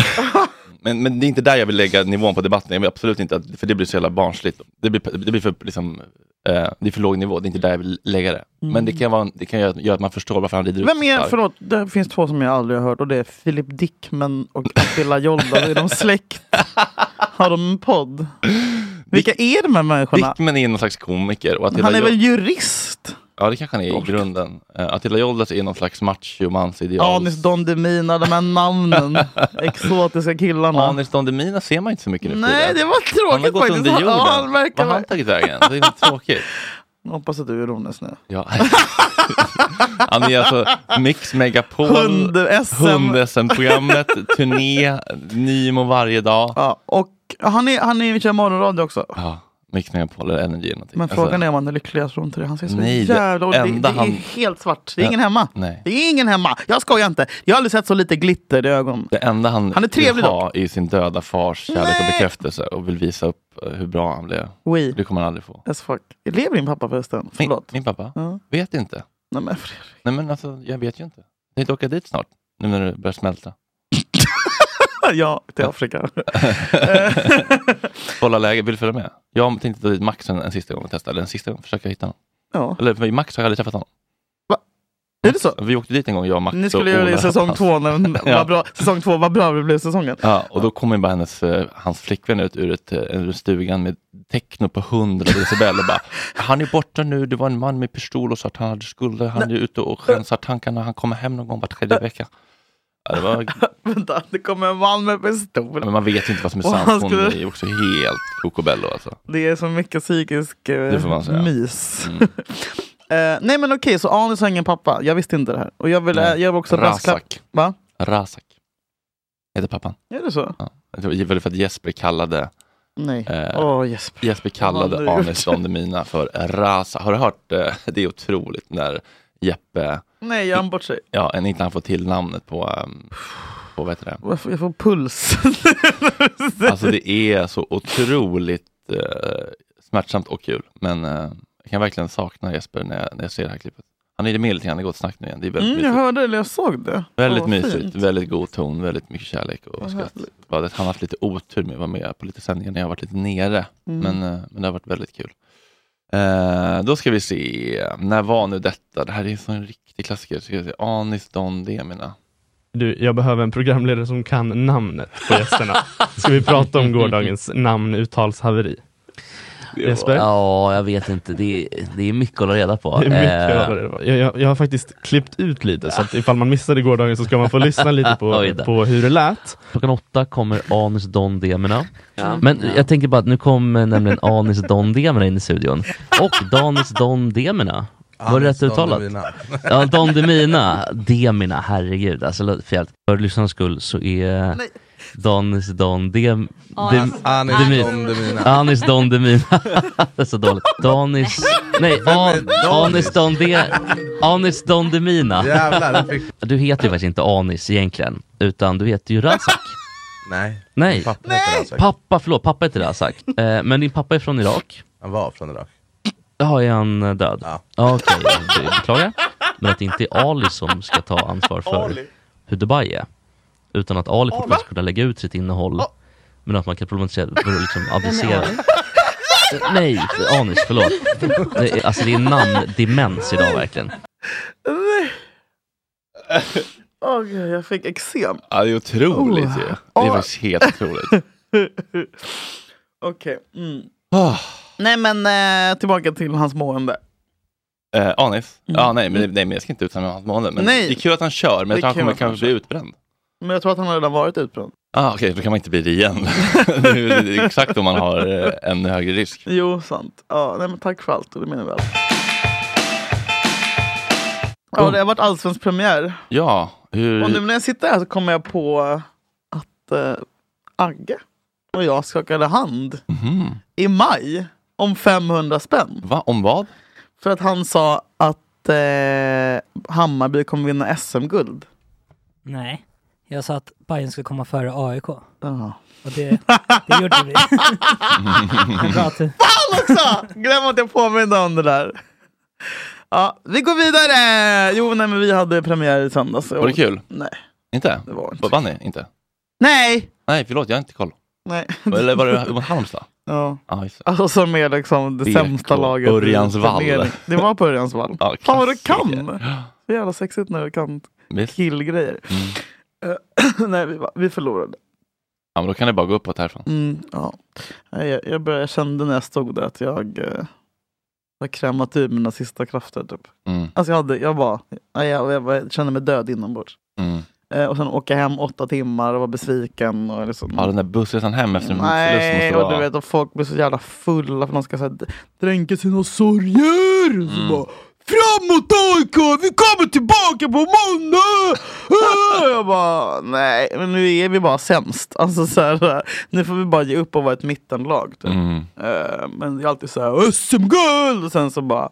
men, men det är inte där jag vill lägga nivån på debatten. Jag vill absolut inte, att, för det blir så jävla barnsligt. Det blir, det blir för, liksom, eh, det är för låg nivå, det är inte där jag vill lägga det. Men det kan, vara, det kan göra, göra att man förstår varför han rider upp Mm. Vem är, starkt. förlåt, det finns två som jag aldrig har hört och det är Filip Dickman och Attila Jolda. [LAUGHS] Är de släkt? Har de en podd? Vilka är de här människorna? Dickman är någon slags komiker. Och Attila Han är Jol- väl jurist? Ja, det kanske han är i grunden. Uh, Attila Joldas är någon slags machomansideal. Anis Don Demin, alla de [LAUGHS] här namnen. Exotiska killarna. Anis Don Demina ser man inte så mycket nu för Nej, tiden. det var Han har tråkigt gått faktiskt. under jorden. Ja, han verkar... Vad har han tagit vägen? Det är inte tråkigt. Hoppas att du är ironisk nu. Ja. [LAUGHS] Han är alltså Mix Megapol, Hund-SM. Hund-SM-programmet, turné, Nymo varje dag. Ja, och han, är, han är, kör morgonradio också. Ja, Mix Megapol eller Energy eller någonting. Men Alltså, frågan är om han är lycklig, jag tror inte det. Han ser så Nej, det jävla... och Det, det, enda är han- helt svart. Det är Ja, ingen hemma. nej. Det är ingen hemma. Jag skojar inte. Jag har aldrig sett så lite glitter i ögonen. Det enda han, Han är trevlig vill ha är sin döda fars kärlek och Nej. bekräftelse och vill visa upp eh, hur bra han blev. Oui. Det kommer han aldrig få. As fuck. Lever din pappa förresten? Min, Förlåt. Mm. min pappa? Ja. Vet inte. Nej, men Fredrik. [LAUGHS] Nej men alltså, jag vet ju inte. Jag tänkte åka dit snart, nu när det börjar smälta. Ja, till Afrika. Kolla läget, vill du följa med? Jag tänkte ta dit Max en, en sista gång och testa, eller en sista gång, försöka hitta honom. Ja. Eller för Max har jag aldrig träffat honom. Är det så? Vi åkte dit en gång, jag och Max. Ni och skulle göra det i Ola säsong Hans. två. När, Ja. vad bra, säsong två, vad bra det blev säsongen. [LAUGHS] Ja, och då kom ju bara hennes, eh, hans flickvän ut ur, ett, eh, ur stugan med techno på 100 decibel och bara [LAUGHS] Han är borta nu, det var en man med pistol och sa att han hade skulder, han är ute och rensar tankarna, han kommer hem någon gång var tredje Äh. vecka. Ja, det var, Vänta, det kommer en man med men pistol. man vet ju inte vad som är [LAUGHS] Och han sant, hon skulle- är ju också helt kokobello alltså. Det är så mycket psykisk eh, Det får man säga. Mm. mys. [LAUGHS] Eh, nej men okej, så Anis har ingen pappa. Jag visste inte det här. Och jag vill, eh, jag vill också ha Razak. brasklapp. Va? Razak heter pappan. Är det så? Ja. Det var väl för att Jesper kallade, Nej. Åh Eh, Jesper. Jesper Vad kallade har du Anis Don Demina för Razak. Har du hört? eh, Det är otroligt när Jeppe Nej, jag hann bort sig. Ja, än inte han får till namnet på, ehm, på vad heter det? Jag får, jag får puls. Alltså det är så otroligt eh, smärtsamt och kul. Men eh, jag kan verkligen sakna Jesper när jag, när jag ser det här klippet. Han är det med lite grann, det är gott snack nu igen. Det är väldigt Mm, jag mysigt. hörde det, eller jag såg det. Väldigt Åh, mysigt, fint. väldigt god ton, väldigt mycket kärlek och skratt. härligt. Ja, det- Han har haft lite otur med att vara med på lite sändningar när jag har varit lite nere. Mm. Men, eh, men det har varit väldigt kul. Eh, då ska vi se, när var nu detta? Det här är en sån riktig klassiker. Ska vi se. Anis Don Demina. Du, jag behöver en programledare som kan namnet på gästerna. Ska vi prata om gårdagens namnuttalshaveri? Jesper? Ja, jag vet inte. Det är, det är mycket att hålla reda på. Det är mycket Eh, att höra. jag, jag, jag har faktiskt klippt ut lite, så att ifall man missade gårdagen så ska man få lyssna lite Oj på, då. på hur det lät. Klockan åtta kommer Anis Don Demina. Men jag tänker bara att nu kommer nämligen Anis Don Demina in i studion. Och Danis Don Demina. Var det rätt uttalat? Ja, Don Demina. Demina, herregud. Alltså, låt- för jävligt. för lyssnarnas skull så är Nej. Danis Don Dem... Dem- Anis Demi- Don Demina. Anis Don Demina. [LAUGHS] det är så dåligt. Danis... Nej, An, Anis Don De, Anis Don Demina. Jävlar, det fick... Du heter ju faktiskt inte Anis egentligen, utan du heter ju Razak. [LAUGHS] Nej. Nej, Pappa heter Razak. pappa, förlåt, pappa heter Razak. Eh, men din pappa är från Irak. Han var från Irak. Jaha, är han eh, död? Ja. Okej, okay, beklagar. Men att det inte är Ali som ska ta ansvar för hur Dubai är. Utan att Ali fortfarande ska kunna lägga ut sitt innehåll. Men att man kan problematisera, för att liksom adressera. Eh, Nej, för- Anis, förlåt. Det är- Alltså det är namndemens idag verkligen. Nej. Åh gud, jag fick eksem. [LAUGHS] Ja, det är otroligt Oh. ju. Det är Oh. faktiskt helt otroligt. [LAUGHS] Okej. Mm. Ah. Nej men eh, tillbaka till hans mående. Eh, Anis? Ja, nej, men, nej, men jag ska inte uttala mig om hans mående. Men Mm. Nej. det är kul att han kör, men Det är jag tror han kul kommer att han kanske bli utbränd. Men jag tror att han har redan varit utbränd. Ah, Okej, då kan man inte bli det igen. [LAUGHS] Nu är det exakt om man har eh, en högre risk. Jo, sant. Ja, nej, men tack för allt, och det menar jag väl. Ja, det har varit allsvensk premiär. Ja, hur... Och nu när jag sitter här så kommer jag på att eh, Agge och jag skakade hand i maj om 500 spänn. Mm. Va? Om vad? För att han sa att eh, Hammarby kommer vinna SM-guld. Nej, jag sa att Bayern skulle komma före AIK. Och Ja. det, det gjorde [LAUGHS] vi. Men bra att du- också! Glöm att jag påminde om det där. Ja, vi går vidare! Jo, nej, men vi hade premiär i söndags. Var det kul? Nej, Inte? det var inte Vad vann ni? Inte? Nej! Nej, förlåt, jag har inte koll. Nej. Eller var [LAUGHS] det mot Halmstad? Ja. Ja, just det. Alltså som är liksom det BK, sämsta laget. i Örjans vall. turneringen. Det var på Örjans vall. Ja, Mm. Fan vad du kan! Så jävla sexigt när du kan killgrejer. [LAUGHS] Eh, Nej, vi, va- vi förlorade. Ja, men då kan det bara gå uppåt härifrån. Mm, ja. Nej, Jag, jag, började, jag kände när jag stod där att jag eh, har krämat ur mina sista krafter. Typ. Mm. Alltså jag, hade, jag, bara, jag, jag, jag, bara kände mig död inombords. Mm. Eh, och sen åka hem åtta timmar och vara besviken. Och liksom, Ja, den där bussresan hem efter en förlust Nej, måste och vara... du vet och folk blir så jävla fulla för de ska så här, dränka sina sorger. Och Mm. Så bara, Framåt AIK, vi kommer tillbaka på måndag! [LAUGHS] Ah! jag bara, nej, men nu är vi bara sämst. Alltså, så här, nu får vi bara ge upp och vara ett mittenlag. Typ. Mm. Eh, men det är alltid så här, SM-guld! Och sen [LAUGHS] så bara,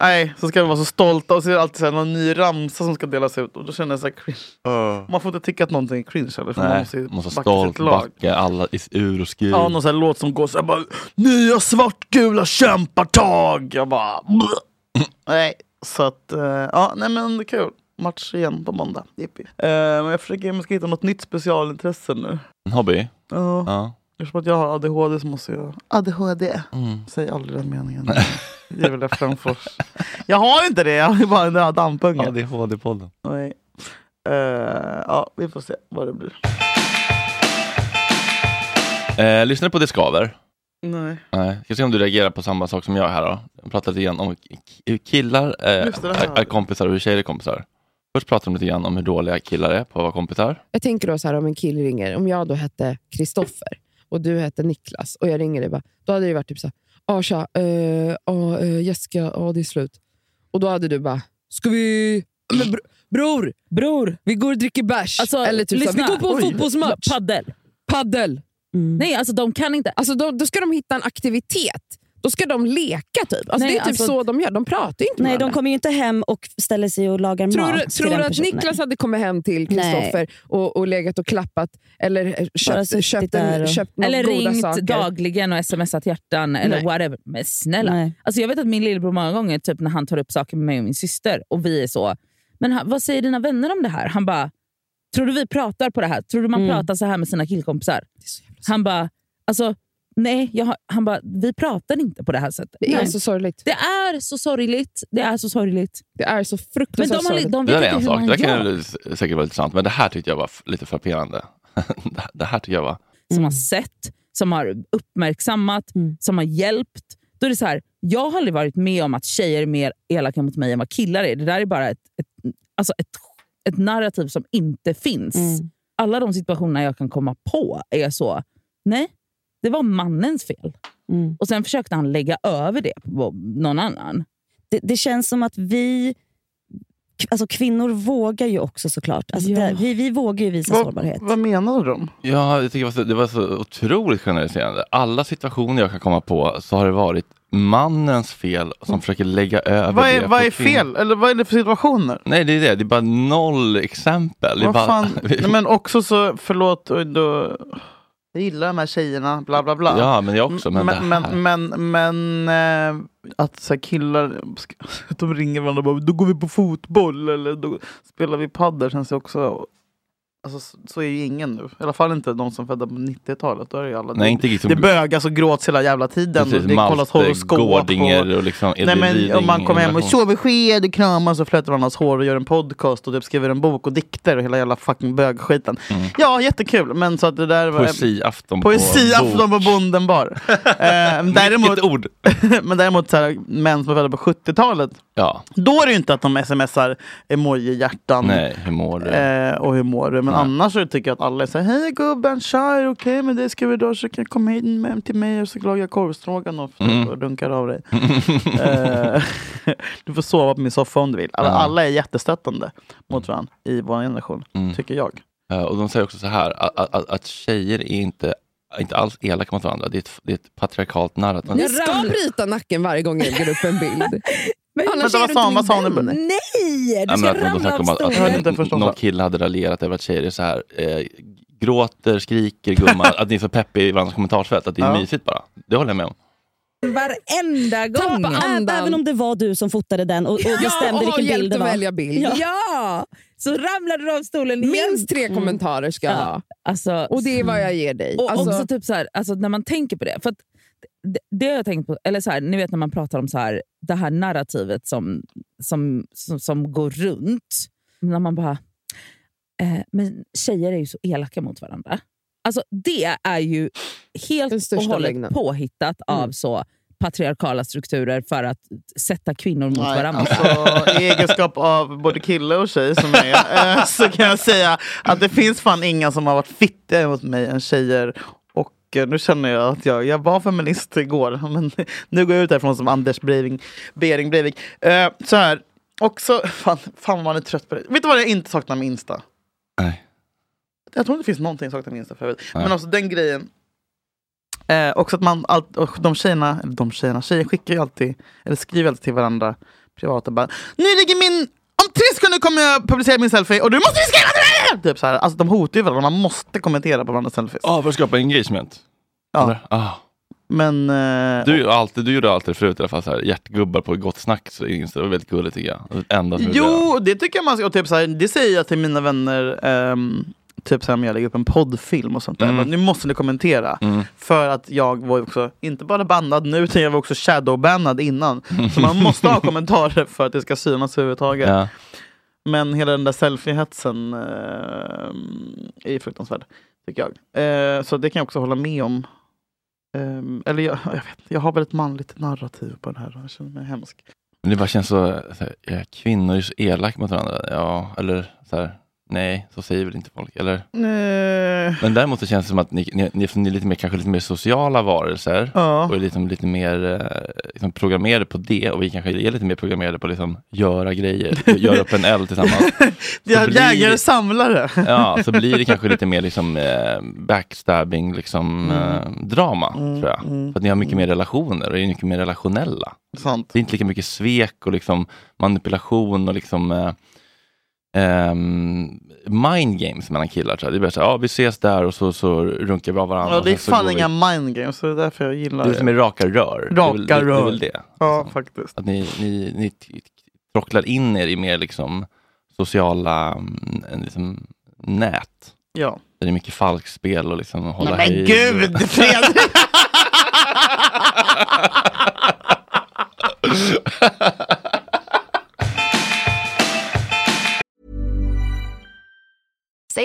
nej, så ska vi vara så stolta. Och så är det alltid så här, någon ny ramsa som ska delas ut. Och då känner jag så här, cringe. Man får inte tycka att någonting är cringe heller. för Nej, Man måste, ju backa stolt sitt lag. backa alla i ur och skur. Ja, någon sån här låt som går såhär bara Nya svartgula kämpartag! Jag bara "Bleh." Nej, så att eh, ja, nej men det är kul. Match igen på måndag. Jippi. Eh, men jag försöker, jag ska hitta något nytt specialintresse nu. En hobby? Ja. Ja. Eftersom att jag har ADHD så måste jag... Mm. ADHD. Säg aldrig den meningen. Julia Fränfors. [LAUGHS] Jag har inte det, jag har bara den där dampunge. ADHD-podden. Nej. Eh, ja, vi får se vad det blir. Eh, lyssnade på Det skaver? Nej. Nej. Ska se om du reagerar på samma sak som jag här då. Jag pratade lite grann om k- hur killar eh, Just det, det här. är, är kompisar och hur tjejer är kompisar. Först pratade de lite grann om hur dåliga killar är på att vara kompisar. Jag tänker då så här om en kille ringer, om jag då hette Kristoffer och du hette Niklas och jag ringer dig, bara, då hade det ju varit typ så här, "Ja, tja, eh, ja, eh, Jessica, ja, det är slut. Och då hade du bara, ska vi... Men br- bror, bror, vi går och dricker bärs. Alltså, Eller typ så här, lyssna. vi går på en Oj. fotbollsmatch. Paddel. Paddel. Nej, alltså de kan inte. Alltså, då, då ska de hitta en aktivitet. Då ska de leka typ. Alltså, Nej, det är typ alltså- så de gör. De pratar ju inte Nej, med de varandra. kommer ju inte hem och ställer sig och lagar Tror mat du, till tror den du att personen. Niklas hade kommit hem till Kristoffer och, och legat och klappat eller eh, köpt, suttit köpt, där en, och- köpt några Eller goda ringt saker? dagligen och smsat hjärtan eller Nej. whatever. Men snälla. Nej. Alltså, jag vet att min lillebror många gånger typ, när han tar upp saker med mig och min syster och vi är så, men han, vad säger dina vänner om det här? Han bara, tror du vi pratar på det här? Tror du man Mm. pratar så här med sina killkompisar? Han bara, alltså nej, jag har, han bara, vi pratar inte på det här sättet. Det är Nej. så sorgligt. Det är så sorgligt. Det är så sorgligt. Det är så Men de, fruktansvärt har, li- de det där vet är en inte hur sak. man Det där kan gör. ju s- säkert vara intressant. Men det här tyckte jag var f- lite frapperande. [LAUGHS] Det här- det här tycker jag var... som har sett, som har uppmärksammat, som har hjälpt. Då är det så här, jag har aldrig varit med om att tjejer är mer elaka mot mig än vad killar är. Det där är bara ett, ett, alltså ett, ett narrativ som inte finns. Alla de situationer jag kan komma på är så, nej, det var mannens fel. Och sen försökte han lägga över det på någon annan. det, det känns som att vi... Alltså kvinnor vågar ju också såklart. Alltså det, vi, vi vågar ju visa sårbarhet. Vad menar de? Ja, jag tycker det var, så, det var så otroligt generaliserande. Alla situationer jag kan komma på så har det varit mannens fel som försöker lägga över Vad det är, på vad är kvinnan. fel? Eller vad är det för situationer? Nej, det är det. Det är bara noll exempel. Det är Vad bara... [LAUGHS] fan? Nej, men också så, förlåt, och då, jag gillar de här tjejerna, bla bla bla. Ja, men jag också, men men, det men, här. men, men, eh, att så här killar att [LAUGHS] de ringer varandra och bara, då går vi på fotboll eller då spelar vi padel känns det också. Alltså, så- så är ju ingen nu. I alla fall inte de som födda på 90-talet. Då är det, ju alla Nej, inte liksom- det bögas och gråts hela jävla tiden. Precis, och det kollas Malte, horoskop. Gårdinger och liksom Edvin Nej, men om man Ryding, kommer hem och relation. sover sked och kramas och flötar varandras hår och gör en podcast och typ skriver en bok och dikter och hela jävla fucking bögskiten. Ja, jättekul. Men så att det där var... Poesiafton Mm. på eh, Poesiafton på bok. bonden bar. [LAUGHS] eh, däremot, ord. men däremot så här, män som är födda på 70-talet. Ja. Då är det ju inte att de smsar emoji-hjärtan. Nej, hur mår du? Mm. Eh, och hur mår du? Men annars så tycker jag att alla är så här, hej gubben, tja, är det okej med dig? Ska vi då så kan du komma hit hem till mig och så lagar jag korvstroganoff Mm. och runkar av [LAUGHS] dig. eh, [LAUGHS] du får sova på min soffa om du vill. Alla, Ja. alla är jättestöttande mot varandra i vår generation, tycker jag. Eh, Och de säger också så här, att, att, att tjejer är inte, inte alls elaka mot varandra. Det är ett, det är ett patriarkalt narrativ. Ni ska bryta nacken varje gång jag lägger upp en bild. Annars Vänta, är vad du sa inte hon? Vad sa hon i min vän. början? Nej! Ja, men att man då snackar om att, att, att någon kille hade raljerat över att tjejer är så här, eh, [LAUGHS] gråter, skriker, gummar, att ni är så peppiga i varandras kommentarsfält, att det är Ja. mysigt bara. Det håller jag med om. Varenda gång. Tappa andan. Även om det var du som fotade den och, och bestämde vilken bild det var. Ja. Ja. ja! Så ramlade du av stolen igen. Minst tre Mm. kommentarer ska jag ha. Alltså, Och det är vad jag ger dig. Och Alltså- också typ så här, alltså när man tänker på det. För att det, det har jag tänkt på, eller så här, ni vet när man pratar om så här, det här narrativet som, som, som, som går runt. När man bara, eh, men tjejer är ju så elaka mot varandra. Alltså det är ju helt och största hållet lögnen. påhittat av så patriarkala strukturer för att sätta kvinnor mot Nej, varandra. Alltså, I egenskap av både kille och tjej som jag är eh, [LAUGHS] så kan jag säga att det finns fan inga som har varit fittigare mot mig än tjejer. Och eh, nu känner jag att jag, jag var feminist igår, [LAUGHS] men nu går jag ut härifrån som Anders Breiving, Bering Breivik. Eh, så här, också, [LAUGHS] fan, fan vad man är trött på det. Vet du vad jag inte saknar med Insta? Nej. Jag tror inte det finns någonting jag saknar med Insta förut. Nej. Men alltså den grejen. Eh, också att man, allt, och de tjejerna, eller de tjejerna, tjejer skickar ju alltid, eller skriver alltid till varandra privata bara Nu ligger min, om tre sekunder kommer jag publicera min selfie och du måste skriva till mig! Typ så här. Alltså de hotar ju varandra, man måste kommentera på varandras selfies. Ja, Ah, för att skapa engagement. Ja. Eller? Ah. Men... Eh, Du, är ju alltid, du gjorde alltid förut i alla fall så här, hjärtgubbar på gott snack. Så Insta. det var väldigt gulligt tycker jag. Det var det enda som gjorde det. Jo, det tycker jag man ska. Och typ så här, det säger jag till mina vänner, ehm, typ så här om jag lägger upp en poddfilm och sånt där. Mm. Bara, Nu måste ni kommentera. Mm. För att jag var ju också, inte bara bannad nu, utan jag var också shadowbannad innan. Så man [LAUGHS] måste ha kommentarer för att det ska synas överhuvudtaget. Ja. Men hela den där selfiehetsen eh, är fruktansvärd, tycker jag. Eh, så det kan jag också hålla med om. Ehm, eller jag, jag, vet, inte, jag har väl ett manligt narrativ på det här och jag känner mig hemsk. Men det bara känns så, så här, ja, kvinnor är så elaka mot varandra. Ja, eller så här, nej, så säger väl inte folk. Eller? Eh, Men däremot så känns det som att ni, ni, ni, eftersom ni är lite mer, kanske lite mer sociala varelser Ja. och är liksom, lite mer eh, liksom, programmerade på det och vi kanske är lite mer programmerade på att liksom, göra grejer, göra upp en eld [LAUGHS] tillsammans. Så jag blir- jägare och samlare. Ja, så blir det kanske lite mer liksom, eh, backstabbing liksom, eh, drama, Mm, tror jag. För att ni har mycket mer relationer och är mycket mer relationella. Sant. Det är inte lika mycket svek och liksom manipulation och liksom eh, ehm, mind games mellan killar. Tror jag. Det är bara så här, ja vi ses där och så, så runkar vi av varandra. Ja, det är och sen alltså, så fan går vi- inga mind games, så det är därför jag Det gillar är lite mer raka rör. det är väl, det, Det Raka är rör. väl det. Ja, faktiskt. Att ni, ni, ni t- trocklar in er i mer liksom sociala mm, liksom, nät. Ja. Där det är mycket falskspel och liksom hålla men höjd. gud, Fredrik! Say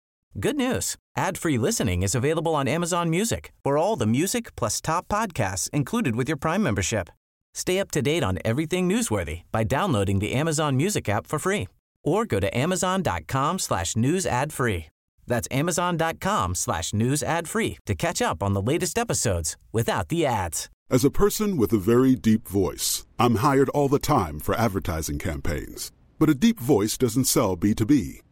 Good news. Ad-free listening is available on Amazon Music for all the music plus top podcasts included with your Prime membership. Stay up to date on everything newsworthy by downloading the Amazon Music app for free or go to amazon.com slash news ad free. That's amazon.com slash news ad free to catch up on the latest episodes without the ads. As a person with a very deep voice, I'm hired all the time for advertising campaigns. But a deep voice doesn't sell B2B,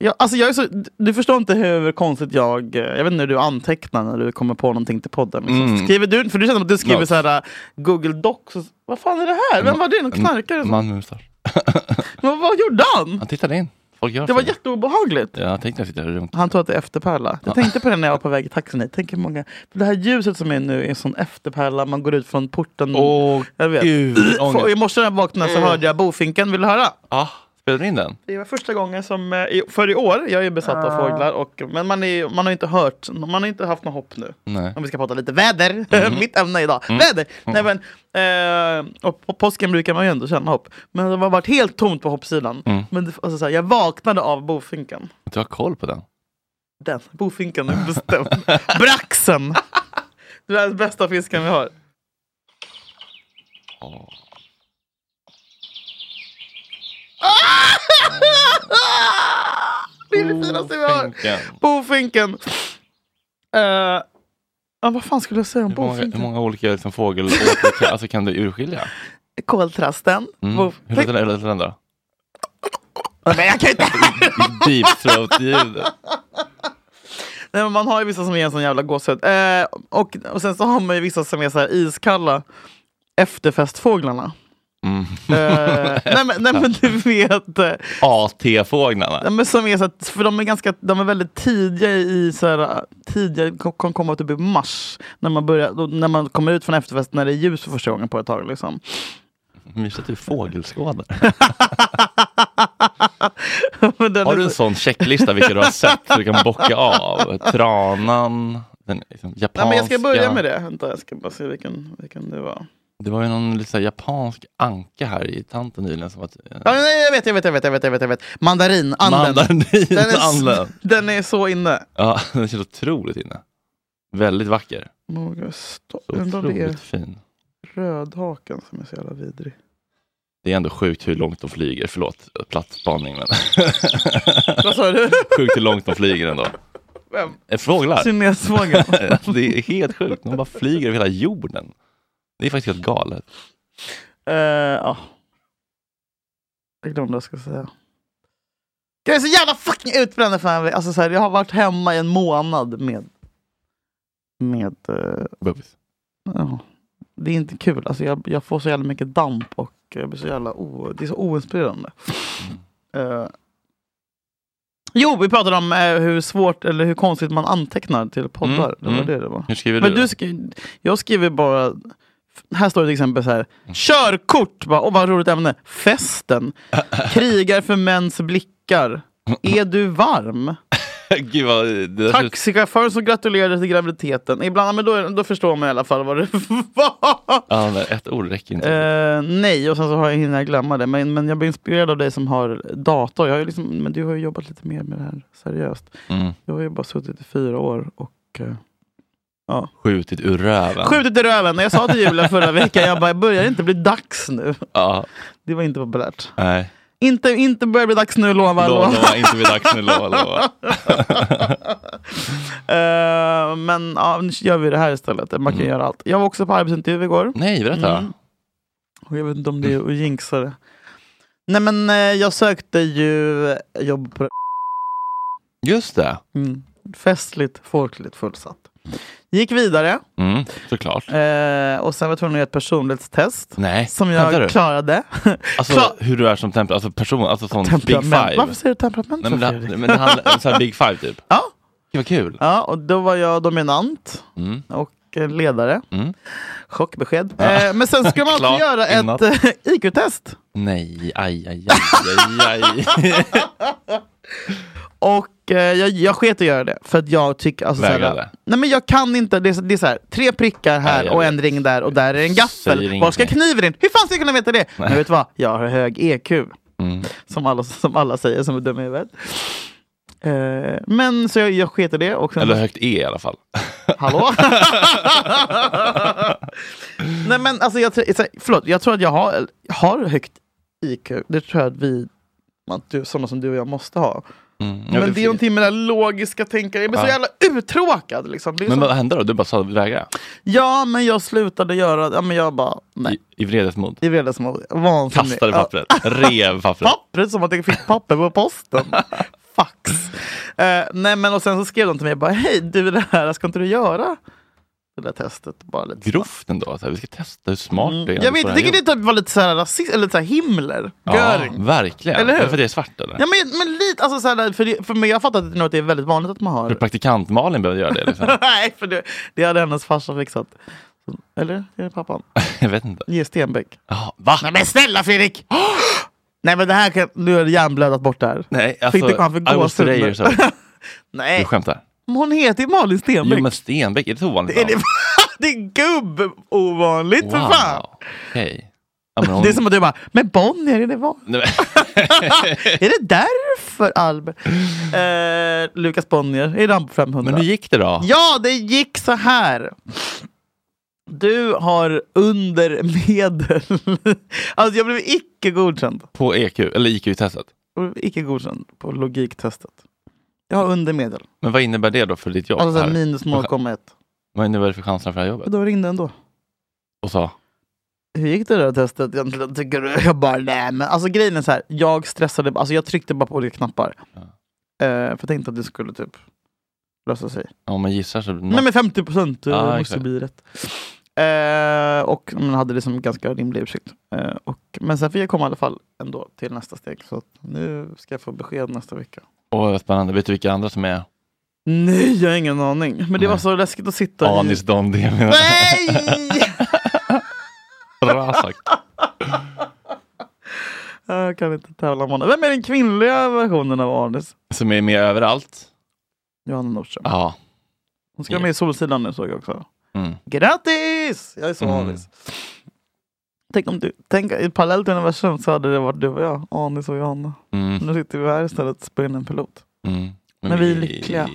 Ja, alltså jag är så, du förstår inte hur konstigt jag... eh, Jag vet inte hur du antecknar när du kommer på någonting till podden. Liksom. Mm. Skriver du, för du känner att du skriver Notes. så här, eh, Google Docs. och- Vad fan är det här? Vem var det? Mm. Någon knarkare? En [LAUGHS] som- Man med mustasch. Men vad gjorde han? Han tittade in. Folk gör Det var så. jätteobehagligt. Ja, jag tänkte jag sitter här runt. Han tror att det är efterpärla. Jag Ja. tänkte på det när jag var på väg i taxin hit. Tänk hur många... För det här ljuset som är nu är en sån efterpärla. Man går ut från porten. Åh, jag vet. gud, ångest. Och I morse när jag vaknade så Mm. hörde jag bofinken. Vill du höra? Ja, spelade du in den? Det var första gången som, eh, i- för i år, jag är ju besatt av Ah. fåglar, och, men man, är, man har inte hört, man har inte haft något hopp nu. Nej. Om vi ska prata lite väder, Mm. [LAUGHS] mitt ämne idag, Mm. väder! Nej, men, eh, och på påsken brukar man ju ändå känna hopp, men det har varit helt tomt på hoppsidan. Mm. Men det, alltså, så här, jag vaknade av bofinken. Du har koll på den. Den, bofinken är bestämd. Braxen! Det är den bästa fisken vi har. Det är det finaste vi har. Ja. Bofinken. Eh, ja, vad fan skulle jag säga om Hur, många, hur bofinken? många [LAUGHS] olika liksom, fågelsorter kan, alltså, kan du urskilja? Koltrasten. Mm. Bof- Hur låter den- hur låter den då? Men jag kan inte Deep throat-ljudet. Nej, men man har ju vissa som är en sån jävla gåshud. Eh, och, och sen så har man ju vissa som är så här iskalla. Efterfestfåglarna. Mm. [LAUGHS] Eh, nej, men, nej men du vet. eh, AT-fåglarna. Nej, men som är så att, för de är, ganska, de är väldigt tidiga i, så här, tidiga, kom- kan komma typ i mars. När man, börjar, då, när man kommer ut från efterfest när det är ljus för första gången på ett tag. Liksom. [LAUGHS] Mysigt att du fågelskådar. Men den Har är du en så- sån checklista vilka du har sett så du kan bocka av? Tranan, den liksom, japanska. Nej, men jag ska börja med det. Vänta, jag ska bara se vilken, vilken det var. Det var ju någon lite så här, japansk anka här i tanten nyligen som var... Ja, nej, jag vet, jag vet, jag vet, jag vet, jag vet, jag vet. Mandarin, [LAUGHS] anden. den, är, s- Mandarinanden. [LAUGHS] den är så inne. Ja, [LAUGHS] den känns otroligt inne. Väldigt vacker. Några sto- Så Undrar om det är otroligt fin. rödhaken som är så jävla vidrig. [LAUGHS] Det är ändå sjukt hur långt de flyger. Förlåt, platt spaning. Men... Vad sa du? [LAUGHS] sjukt hur långt de flyger ändå. Vem? Eh, Fåglar. [LAUGHS] Eh, Kinesfågeln. det är helt sjukt. De bara flyger över hela jorden. Det är faktiskt helt galet. Eh, ja. Jag glömde vad jag skulle säga. Jag är så jävla fucking utbränd. Fan. Alltså, så här, jag har varit hemma i en månad med... Med... eh, Bebis. ja. Det är inte kul. Alltså, jag, jag får så jävla mycket damp och jag blir så jävla o, det är så oinspirerande. Mm. Eh, jo, vi pratade om eh, hur svårt eller hur konstigt man antecknar till poddar. Mm, Det var mm. det det var. Hur skriver Men du du då? skri- jag skriver bara... Här står det till exempel så här. Mm. Körkort! Bara, Åh, vad roligt ämne. [LAUGHS] Festen. Krigar för mäns blickar. Är du varm? [LAUGHS] Gud vad... Det där känns- Taxichauffören som gratulerade till graviditeten. Ibland, men då, då förstår man i alla fall vad det [LAUGHS] var. Ja, nej, ett ord räcker inte. Eh, nej, och sen så har jag hinner jag glömma det. Men, men jag blir inspirerad av dig som har dator. Jag har ju liksom, men du har ju jobbat lite mer med det här seriöst. Mm. Jag har ju bara suttit i fyra år och eh, ja. Skjutit ur röven. skjutit i röven. När jag sa till [LAUGHS] Julia förra veckan, jag bara, börjar det inte bli dags nu? Ja, Det var inte populärt. nej. Inte, inte börjar bli dags nu, lova. Lova, inte bli dags nu, lova, lova. [LAUGHS] Eh, men ja, nu gör vi det här istället. Man Mm. kan göra allt. Jag var också på arbetsintervju igår. Nej, berätta. Mm. Och jag vet inte om det Mm. är att jinxa det. Nej men eh, jag sökte ju jobb på Just det. Mm. Festligt, folkligt, fullsatt. Gick vidare. Mm, såklart. Eh, och sen var jag tvungen att göra ett personlighetstest. Nej, Som skämtar jag Eh, du? klarade. Alltså Klar- hur du är som temperament, alltså person, alltså sån big Temperament. five. Varför säger du temperament Nej, men för, det, Fredrik? men det handlar, så här big five typ. [LAUGHS] Ja. Gud vad kul. Ja, och då var jag dominant Mm. och eh, ledare. Mm. Chockbesked. Ja. Eh, men [LAUGHS] sen skulle man också Klart göra ett innan. eh, IQ-test. Nej, aj, aj, aj, aj, aj. Och eh, jag, jag sket i att göra det. För att jag tycker... Alltså, såhär, Vägrade. nej men jag kan inte. Det är, så- det är såhär, tre prickar här Nej, jag och vet. en ring där och där är Säger en gaffel. Var ska ingenting. kniven in? Hur fan ska jag kunna veta det? Nej. Men vet du vad? Jag har hög EQ. Mm. Som, alla, som alla säger som är dumma i huvudet. Eh, men så jag, jag sket i det. Och [LAUGHS] sen, Eller högt E i alla fall. [LAUGHS] Hallå? Nej men alltså, jag, tr- så här, förlåt, jag tror att jag har, har högt IQ. Det tror jag att vi, att du, sådana som du och jag måste ha. Mm. Ja, Men det är någonting med det här logiska tänkandet. Jag blir så Ja. jävla uttråkad. Liksom. Det är Men så- vad hände då? Du bara sa väga? Ja, men jag slutade göra... Ja, men jag bara... Nej. I vredesmod? I vredesmod. Vansinnig. Kastade Ja. pappret? Rev pappret? Pappret som att jag fick papper [LAUGHS] på posten. Fax. Eh, nej, men och sen så skrev de till mig bara, hej du det här, ska inte du göra det där testet? Bara lite snabbt." Grovt ändå. Så här, vi ska testa hur smart du är. Mm. Jag vet, jag tycker det typ var lite så här rasist, eller lite så här Himmler, Ja, Göring. verkligen. Eller hur? Är det för att det är svart eller? Ja, men, men lite, alltså så här, för, det, för mig, jag fattar att det är något det är väldigt vanligt att man har. För praktikant-Malin behövde göra det. Liksom. [LAUGHS] nej, för det, det hade hennes farsa fixat. Så- Eller? Är det pappan? jag vet inte. Ge Stenbeck. Ja, va? Nej men snälla Fredrik! [GASPS] nej men det här kan... Nu är det hjärnblödat bort det här. Nej, alltså, Fick du, han fick I was gåshud today [LAUGHS] nu. or so. Nej. Du skämtar? Men Hon heter ju Malin Stenbeck. Jo men Stenbeck, är det så ovanligt? Det är, det, [LAUGHS] det är gubb-ovanligt för fan. Okej. Ja, [LAUGHS] men hon- Det är som att du bara, men Bonnier är [LAUGHS] det van? Nej, men- är det därför Albert? Eh, Lukas Bonnier, är han på 500? Men hur gick det då? Ja, det gick så här. Du har under medel. [LAUGHS] alltså jag blev icke godkänd. På EQ, eller IQ-testet? Jag blev icke godkänd på logiktestet. Jag har under medel. Men vad innebär det då för ditt jobb? Alltså här? minus 0,1. Vad innebär det för chanserna för det här jobbet? Och då ringde ändå. Och sa? Hur gick det där testet egentligen? Tycker du? Jag bara, nej men alltså grejen är så här. Jag stressade, alltså jag tryckte bara på olika knappar. Eh, för jag tänkte att det skulle typ lösa sig. Om man gissar så... Nej men 50 procent eh, Ah, måste exakt. bli rätt. Eh, och man hade det som ganska rimlig ursäkt. Eh, och, men sen fick jag komma i alla fall ändå till nästa steg. Så att nu ska jag få besked nästa vecka. Åh, vad spännande. Vet du vilka andra som är Nej, jag har ingen aning. Men det var så läskigt att sitta i... Anis Don Demina? Nej! [LAUGHS] [LAUGHS] Bra sagt. jag kan inte tävla med honom. Vem är den kvinnliga versionen av Anis? Som är med överallt? Johanna Nordström. Ja. Hon ska vara med i Solsidan nu såg jag också. Mm. Grattis! Jag är så Mm. anis. Tänk om du, tänk i parallellt universum så hade det varit du och jag, Anis och Johanna. Mm. Nu sitter vi här istället och spelar in en pilot. Mm. Men, vi är lyckliga.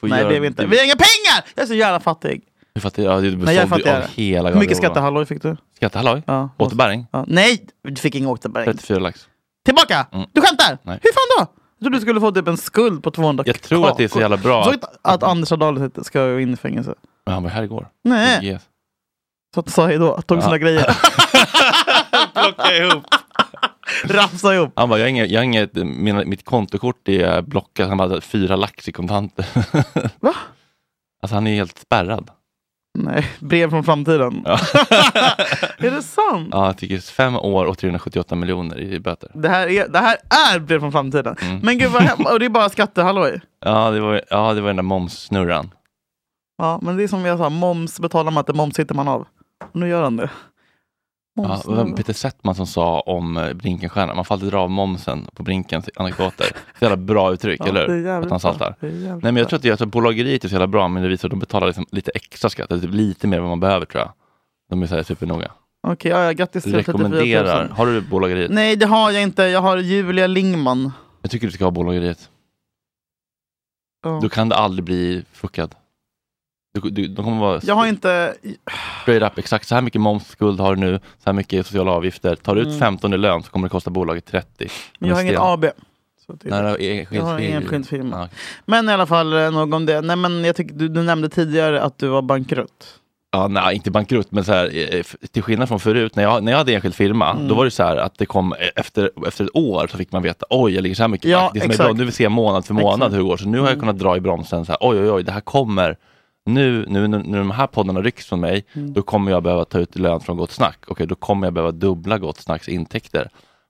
får Nej göra- det är vi inte. Vi har inga pengar! Jag är så jävla fattig. Du fattar, ja, du Nej jag är bestod ju av fattigare. hela Hur mycket garderoben. skattehalloj fick du? Skattehalloj? Ja. Återbäring? Ja. Nej! Du fick ingen återbäring. 34 lax. Tillbaka! Mm. Du skämtar! Nej. Hur fan då? Jag trodde du skulle få typ en skuld på 200 Jag tror att det är så jävla bra Så att... att, att Anders Adahl ska in i fängelse. Men han var här igår. Nej. Yes. Så att sa hejdå, tog Ja. [LAUGHS] sina grejer. Plocka ihop. Rafsa ihop. Han bara, jag har inget, jag har inget mina, mitt kontokort är blockat. Han hade fyra lax i kontanter. [LAUGHS] Va? Mm. Alltså han är helt spärrad. Nej, brev från framtiden. Ja. [LAUGHS] är det sant? Ja, jag tycker fem år och 378 miljoner i böter. Det här är, det här är brev från framtiden. Mm. Men gud vad hem- och det är bara skattehalloj. Ja, det var, ja, det var den där momssnurran. Ja, men det är som jag sa, moms betalar man inte, moms hittar man av. Och nu gör han det. Ja, Moms, det var Peter Settman som sa om eh, Brinkenstjärnan, man får alltid dra av momsen på Brinkens anekdoter. Så jävla bra uttryck, Ja, eller det är hur? jävligt Att han saltar. bra. Det är jävligt Nej, men jag bra. tror att det- jag tror att bolageriet är typ så jävla bra, men det visar att de betalar liksom lite extra skatt, eller typ lite mer än vad man behöver tror jag. De är så här supernoga. Okej, ja, ja, grattis till 34 Rekommenderar. 000. Har du bolageriet? Nej, det har jag inte. Jag har Julia Lingman. Jag tycker du ska ha bolageriet. Ja. Då kan det aldrig bli fuckad. Du, du, de kommer vara Jag har inte... straight up, exakt så här mycket momsskuld har du nu, så här mycket sociala avgifter. Tar du ut Mm. 15 i lön så kommer det kosta bolaget 30. Men jag har inget Sten. AB. Så det Nej, är det. det var enskild jag har firma. ingen enskild firma. Ja, okej. Men i alla fall, eh, nog om det. Nej, men jag tycker, du, du nämnde tidigare att du var bankrutt. Ja, nej, inte bankrutt, men så här, eh, f- till skillnad från förut, när jag, när jag hade enskild firma, Mm. då var det så här att det kom eh, efter, efter ett år så fick man veta, oj, jag ligger så här mycket Ja, back. Det som är exakt. bra, nu vill se månad för månad Exakt. Mm. hur det går, så nu har jag kunnat dra i bromsen, så här, oj, oj, oj, det här kommer, nu, nu, nu när de här poddarna rycks från mig, Mm. då kommer jag behöva ta ut lön från Gott Snack. Okej, då kommer jag behöva dubbla Gott Snacks intäkter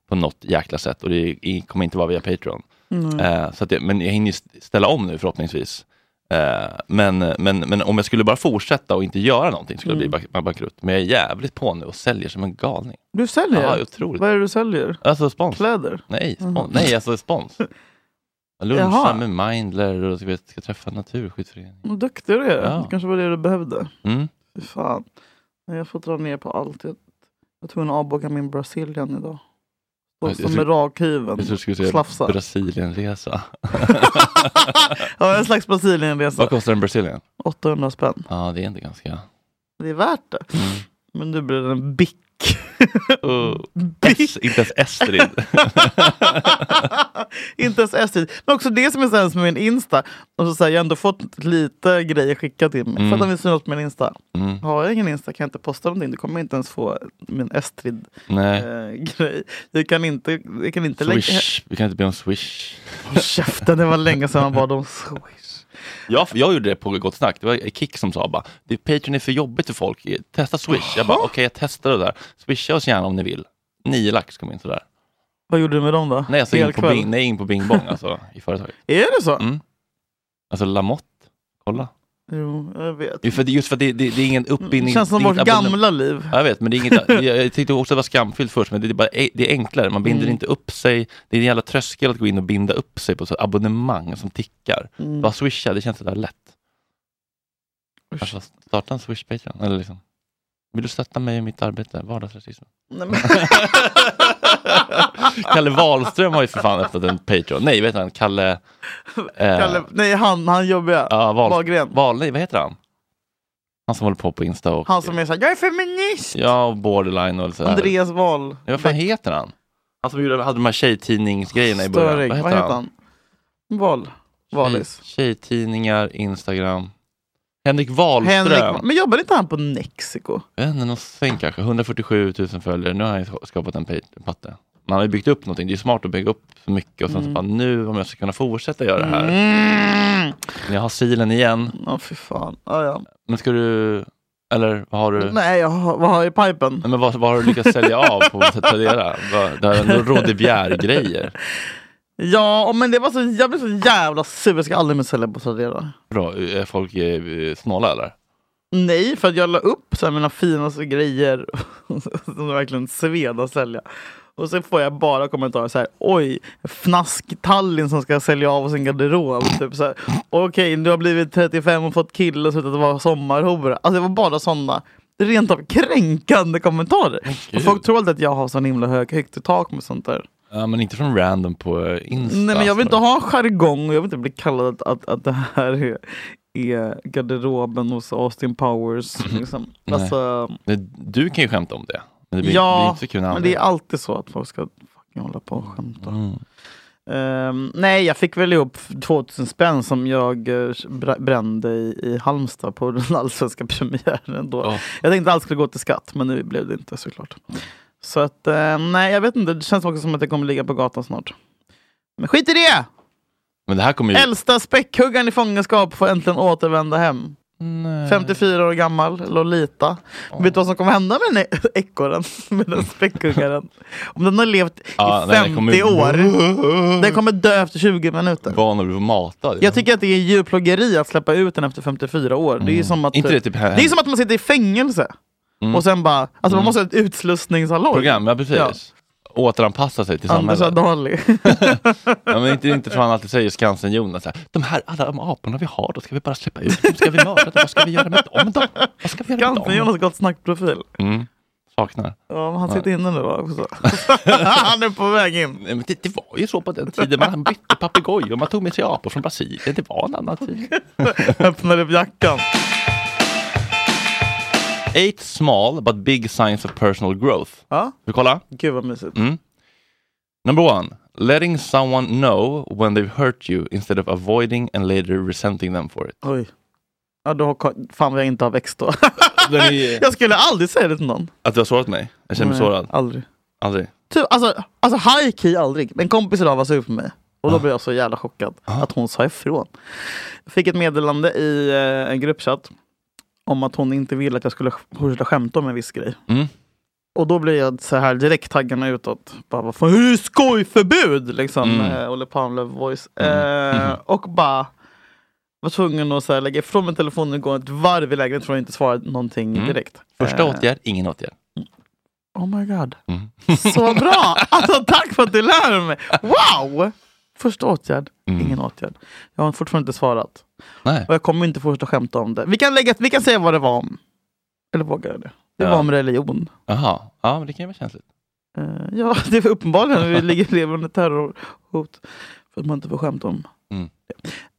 på något jäkla sätt och det i- kommer inte vara via Patreon. Mm. Eh, så att det, men jag hinner ju st- ställa om nu förhoppningsvis. Eh, men, men, men om jag skulle bara fortsätta och inte göra någonting skulle Mm. jag bli bank- bankrutt. Men jag är jävligt på nu och säljer som en galning. Du säljer? Ja, otroligt. Vad är det du säljer? Alltså spons. Kläder? Nej, spons. Mhm. Nej alltså [LAUGHS] spons. Jag lunchar Jaha. med Mindler och ska, ska träffa Naturskyddsföreningen. Vad duktig du är. Ja. Det kanske var det du behövde. Mm. Fy fan. Nej, Jag får dra ner på allt. Jag jag var tvungen att avboka min Brazilian idag. Jag- Står jag som med tror- rakhyveln Jag trodde du skulle och säga slafsar. Brasilienresa. [LAUGHS] ja, en slags Brasilienresa. Vad kostar en Brasilien? 800 spänn. Ja, det är inte ganska... Mm. [LAUGHS] Det är värt det. Men du blir en bick. Oh, S, inte ens Estrid. [LAUGHS] Inte ens S-tid. Men också det som är sen med min Insta. Och så säger jag har ändå fått lite grejer skickat till mig. Mm. För att de vill synas på min Insta. Mm. Har jag ingen Insta kan jag inte posta någonting. Du kommer inte ens få min Nej. Estrid-grej. jag kan inte, jag kan inte lägga... Swish. Vi kan inte be om swish. Håll [LAUGHS] käften, det var länge sedan man bad om swish. [LAUGHS] Jag, jag gjorde det på Gott Snack. Det var Kik som sa bara, det Patreon är för jobbigt för folk. Testa swish. [LAUGHS] Jag bara, okej jag testar det där. Swisha oss gärna om ni vill. Nio lax kom in sådär. Vad gjorde du med dem då? Nej, alltså Hel in på, kväll? bing, nej, in på Bing Bong alltså, i [LAUGHS] företaget. Är det så? Mm. Alltså Lamotte, kolla. Jo, jag vet. Mm, Ju för- Just för att det, det, det är ingen uppbindning. Känns som det är vårt inget abonnem- gamla liv. Ja, jag vet, men det är [LAUGHS] inget, jag, jag tyckte också att det var skamfyllt först, men det är, bara, det är enklare. Man binder Mm. inte upp sig. Det är en jävla tröskel att gå in och binda upp sig på ett abonnemang som tickar. Mm. Bara swisha, det känns sådär lätt. Alltså, starta en swish Patreon. Eller liksom. Vill du stötta mig i mitt arbete? [LAUGHS] Vardagsrasism. Nej, men- [LAUGHS] Kalle Wahlström har ju för fan öppnat en Patreon. Nej, vet han? Kalle... Eh, [LAUGHS] Kalle, nej, han, han jobbiga. ja, Wahl, Wahlgren. Wahl, nej, vad heter han? Han som håller på på Insta och... Han som är såhär, jag är feminist! Ja, och borderline och sådär. Andreas Wahl. Ja, vad fan heter han? Han som gjorde, hade de här tjejtidningsgrejerna i början. Störing. Vad heter han? Wahl. Wahlis. Tjej, tjejtidningar, Instagram. Henrik Wahlström. Henrik, men jobbar inte han på Nexiko? Jag vet inte, någon säng kanske. 147 000 följare. Nu har han ju skapat en pa- patte. Man har ju byggt upp någonting. Det är ju smart att bygga upp så mycket och sen så Mm. bara nu om jag ska kunna fortsätta göra det här. Mm. När jag har silen igen. Ja, fy fan. Ja, ja. Men ska du, eller vad har du? Nej, jag har, vad har jag i pipen? Nej, men vad, vad har du lyckats sälja av på Tradera? Vad- Det här Råde Bjerre-grejer. Ja, men det var så, jag blev så jävla sur. Jag ska aldrig mer sälja på Tradera. Bra, är folk eh, snåla eller? Nej, för att jag la upp så här mina finaste grejer [LAUGHS] som verkligen sved att sälja. Och så får jag bara kommentarer så här, oj, fnask-Tallinn som ska sälja av sin garderob. Typ så här, okej, du har blivit 35 och fått kille och slutat vara sommarhora. Alltså det var bara sådana rent av kränkande kommentarer. Och folk tror alltid att jag har sån himla hög, högt i tak med sånt där. Ja, men inte från random på eh, Insta. Nej, men jag vill inte ha jargong och jag vill inte bli kallad att, att, att det här är, är garderoben hos Austin Powers. Liksom. [LAUGHS] Nej. Alltså, Men Du kan ju skämta om det. Men det blir, det blir ja, inte så kul när men andra- det är alltid så att folk ska fucking hålla på och skämta. Mm. Ehm, nej, jag fick väl ihop 2000 spänn som jag eh, br- brände i, i Halmstad på den [LAUGHS] allsvenska premiären. Då. Jag tänkte att allt skulle gå till skatt, men nu blev det inte såklart. Så att, eh, nej, jag vet inte. Det känns också som att jag kommer ligga på gatan snart. Men skit i det! Men det här kommer ju... Äldsta späckhuggaren i fångenskap får äntligen återvända hem. Eh. 54 år gammal, Lolita. Vet du vad som kommer hända med den här [LAUGHS] ekorren? Med den späckhuggaren? Om den har levt Ja, i nej, 50 den kommer- år. Den kommer dö efter 20 minuter. Van att bli matad. Jag tycker att det är djurplågeri att släppa ut den efter 54 år. Det är ju som att, Inte det typ här- är som att man sitter i fängelse. Mm. Och sen bara, alltså man Mm. måste ha ett utslussningshalloj. Program, ja precis. Återanpassa sig till Anders samhället. [LAUGHS] Adali. Ja, men inte, inte som han alltid säger, Skansen-Jonas. så här, De här alla de aporna vi har, då ska vi bara släppa ut dem. Ska vi mörda dem? Vad ska vi göra med dem då? Vad ska vi göra med dem? Skansen-Jonas gott snackprofil. Mm. Saknar. Ja, men han sitter inne nu va? [LAUGHS] också. [LAUGHS] han är på väg in. Nej, men det, det var ju så på den tiden. Man bytte papegojor, man tog med sig apor från Brasilien. Det var en annan tid. Öppnar upp jackan. Eight small but big signs of personal growth. Ja. Vi kolla. Gud vad mysigt. Mm. Number one, letting someone know when they've hurt you instead of avoiding and later resenting them for it. Oj. Ja, du har, ko- fan vad jag inte har växt [LAUGHS] då. Den är- Jag skulle aldrig säga det till någon. [LAUGHS] Att du har sårat mig? Jag känner mig Nej, sårad? Aldrig. Aldrig? Typ, alltså, alltså high key aldrig. Men En kompis idag var sur på mig. Och Ah. då blev jag så jävla chockad att hon sa ifrån. Jag fick ett meddelande i eh, en gruppchatt om att hon inte ville att jag skulle, hon skulle skämta om en viss grej. Mm. Och då blir jag så här direkt taggarna utåt. Bara, vad fan, hur är det skojförbud? Liksom, Mm. eh, Olle Palmlöf voice. Eh, och bara var tvungen att så här, lägga ifrån mig telefonen och gå ett varv i lägenheten för att inte svara någonting Mm. direkt. Första Eh, åtgärd, ingen åtgärd. Mm. Oh my god. Så bra! Alltså tack för att du lär mig! Wow! Första åtgärd, ingen åtgärd. Jag har fortfarande inte Mm. svarat. Nej. Och jag kommer inte fortsätta skämta om det. Vi kan, lägga, vi kan säga vad det var om. Eller vågar jag det? Det Ja. var om religion. Jaha, ja men det kan ju vara känsligt. Eh, ja, [LAUGHS] det var uppenbarligen. Vi ligger lever under terrorhot. För att man inte får skämta om. Mm.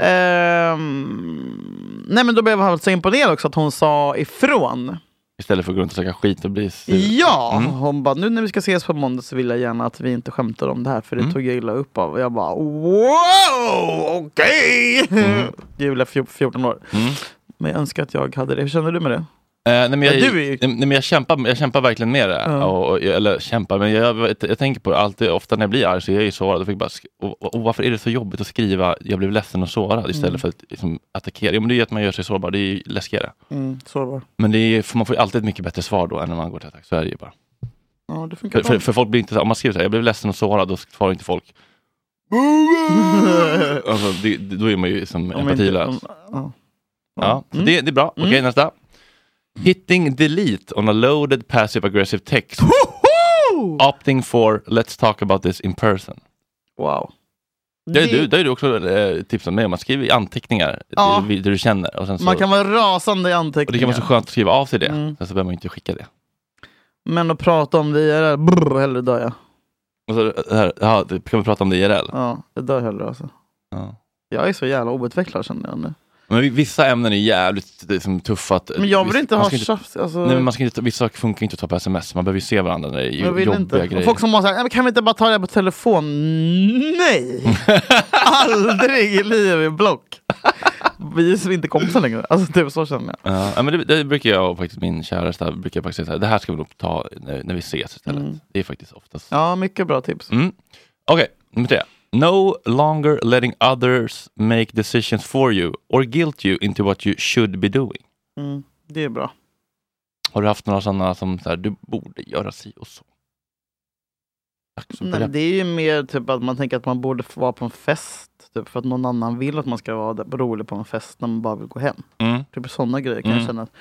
Ehm, nej men då blev jag så imponerad också att hon sa ifrån. Istället för att gå runt och söka skit och bli sur. Ja, Mm. hon bara, nu när vi ska ses på måndag så vill jag gärna att vi inte skämtar om det här för Mm. det tog jag illa upp av. Och jag bara, wow, okej! Mm. [LAUGHS] Julia, fjor- 14 år. Men jag önskar att jag hade det. Hur känner du med det? Eh, nej, men Ja, jag, du är ju- nej, men jag, kämpar, jag kämpar verkligen med det. Ja. Och, och, eller kämpar, men jag, jag, jag tänker på det alltid. Ofta när jag blir arg så är jag ju sårad. Och, fick bara, sk- och, och, och varför är det så jobbigt att skriva jag blev ledsen och sårad istället Mm. för att liksom, attackera? Jo, men det är ju att man gör sig sårbar. Det är ju läskigare. Mm, sårbar. Men det är, för man får ju alltid ett mycket bättre svar då än när man går till attack. Så är det ju bara. Ja, det funkar För, för, bra. för folk blir inte, så- om man skriver så här, jag blev ledsen och sårad, då svarar inte [LAUGHS] folk. [LAUGHS] Alltså, det, det, då är man ju som Om inte- empatilös. om- ja. Mm. Ja, så det, det är bra. Okej, nästa. Hitting delete on a loaded passive aggressive text. Opting for let's talk about this in person. Wow. Det har ju Det- du, det har ju du också eh, tipsat mig om. Man skriver i anteckningar Ja. det, det du känner. Och, sen så, Man kan vara rasande i och anteckningar. det kan vara så skönt att skriva av sig det. Mm. Sen så behöver man ju inte skicka det. Men att prata om det IRL, brr, hellre dör jag. Och så, det här, ja, det- kan vi prata om det i IRL? Ja, jag dör hellre alltså. Ja. Jag är så jävla outvecklad känner jag nu. Men vi- vissa ämnen är jävligt liksom, tuffa. Att, Men jag vill vissa- inte man ha ska tjafs, alltså. Nej, men man ska inte, vissa saker funkar inte att ta på sms. Man behöver ju se varandra när det är Jag jo- vill jobbiga inte. Och grejer. folk som bara såhär, "Nej, men kan vi inte bara ta det här på telefon? [LAUGHS] Nej! Aldrig i livet, block! Vi är som inte kompisar längre. Alltså typ så känner jag. Ja, ja, men det, det brukar jag och faktiskt min käresta brukar jag faktiskt säga så här, det här ska vi nog ta när, när vi ses istället. Mm. Det är faktiskt oftast. Ja, mycket bra tips. Mm. Okej, nummer tre. No longer letting others make decisions for you or guilt you into what you should be doing. Mm, det är bra. Har du haft några sådana som så här, du borde göra si och så? Dags att Nej, börja. men det är ju mer typ att man tänker att man borde få vara på en fest. Typ för att någon annan vill att man ska vara där- rolig på en fest när man bara vill gå hem. Mm. Typ sådana grejer kan Mm. jag känna. Att,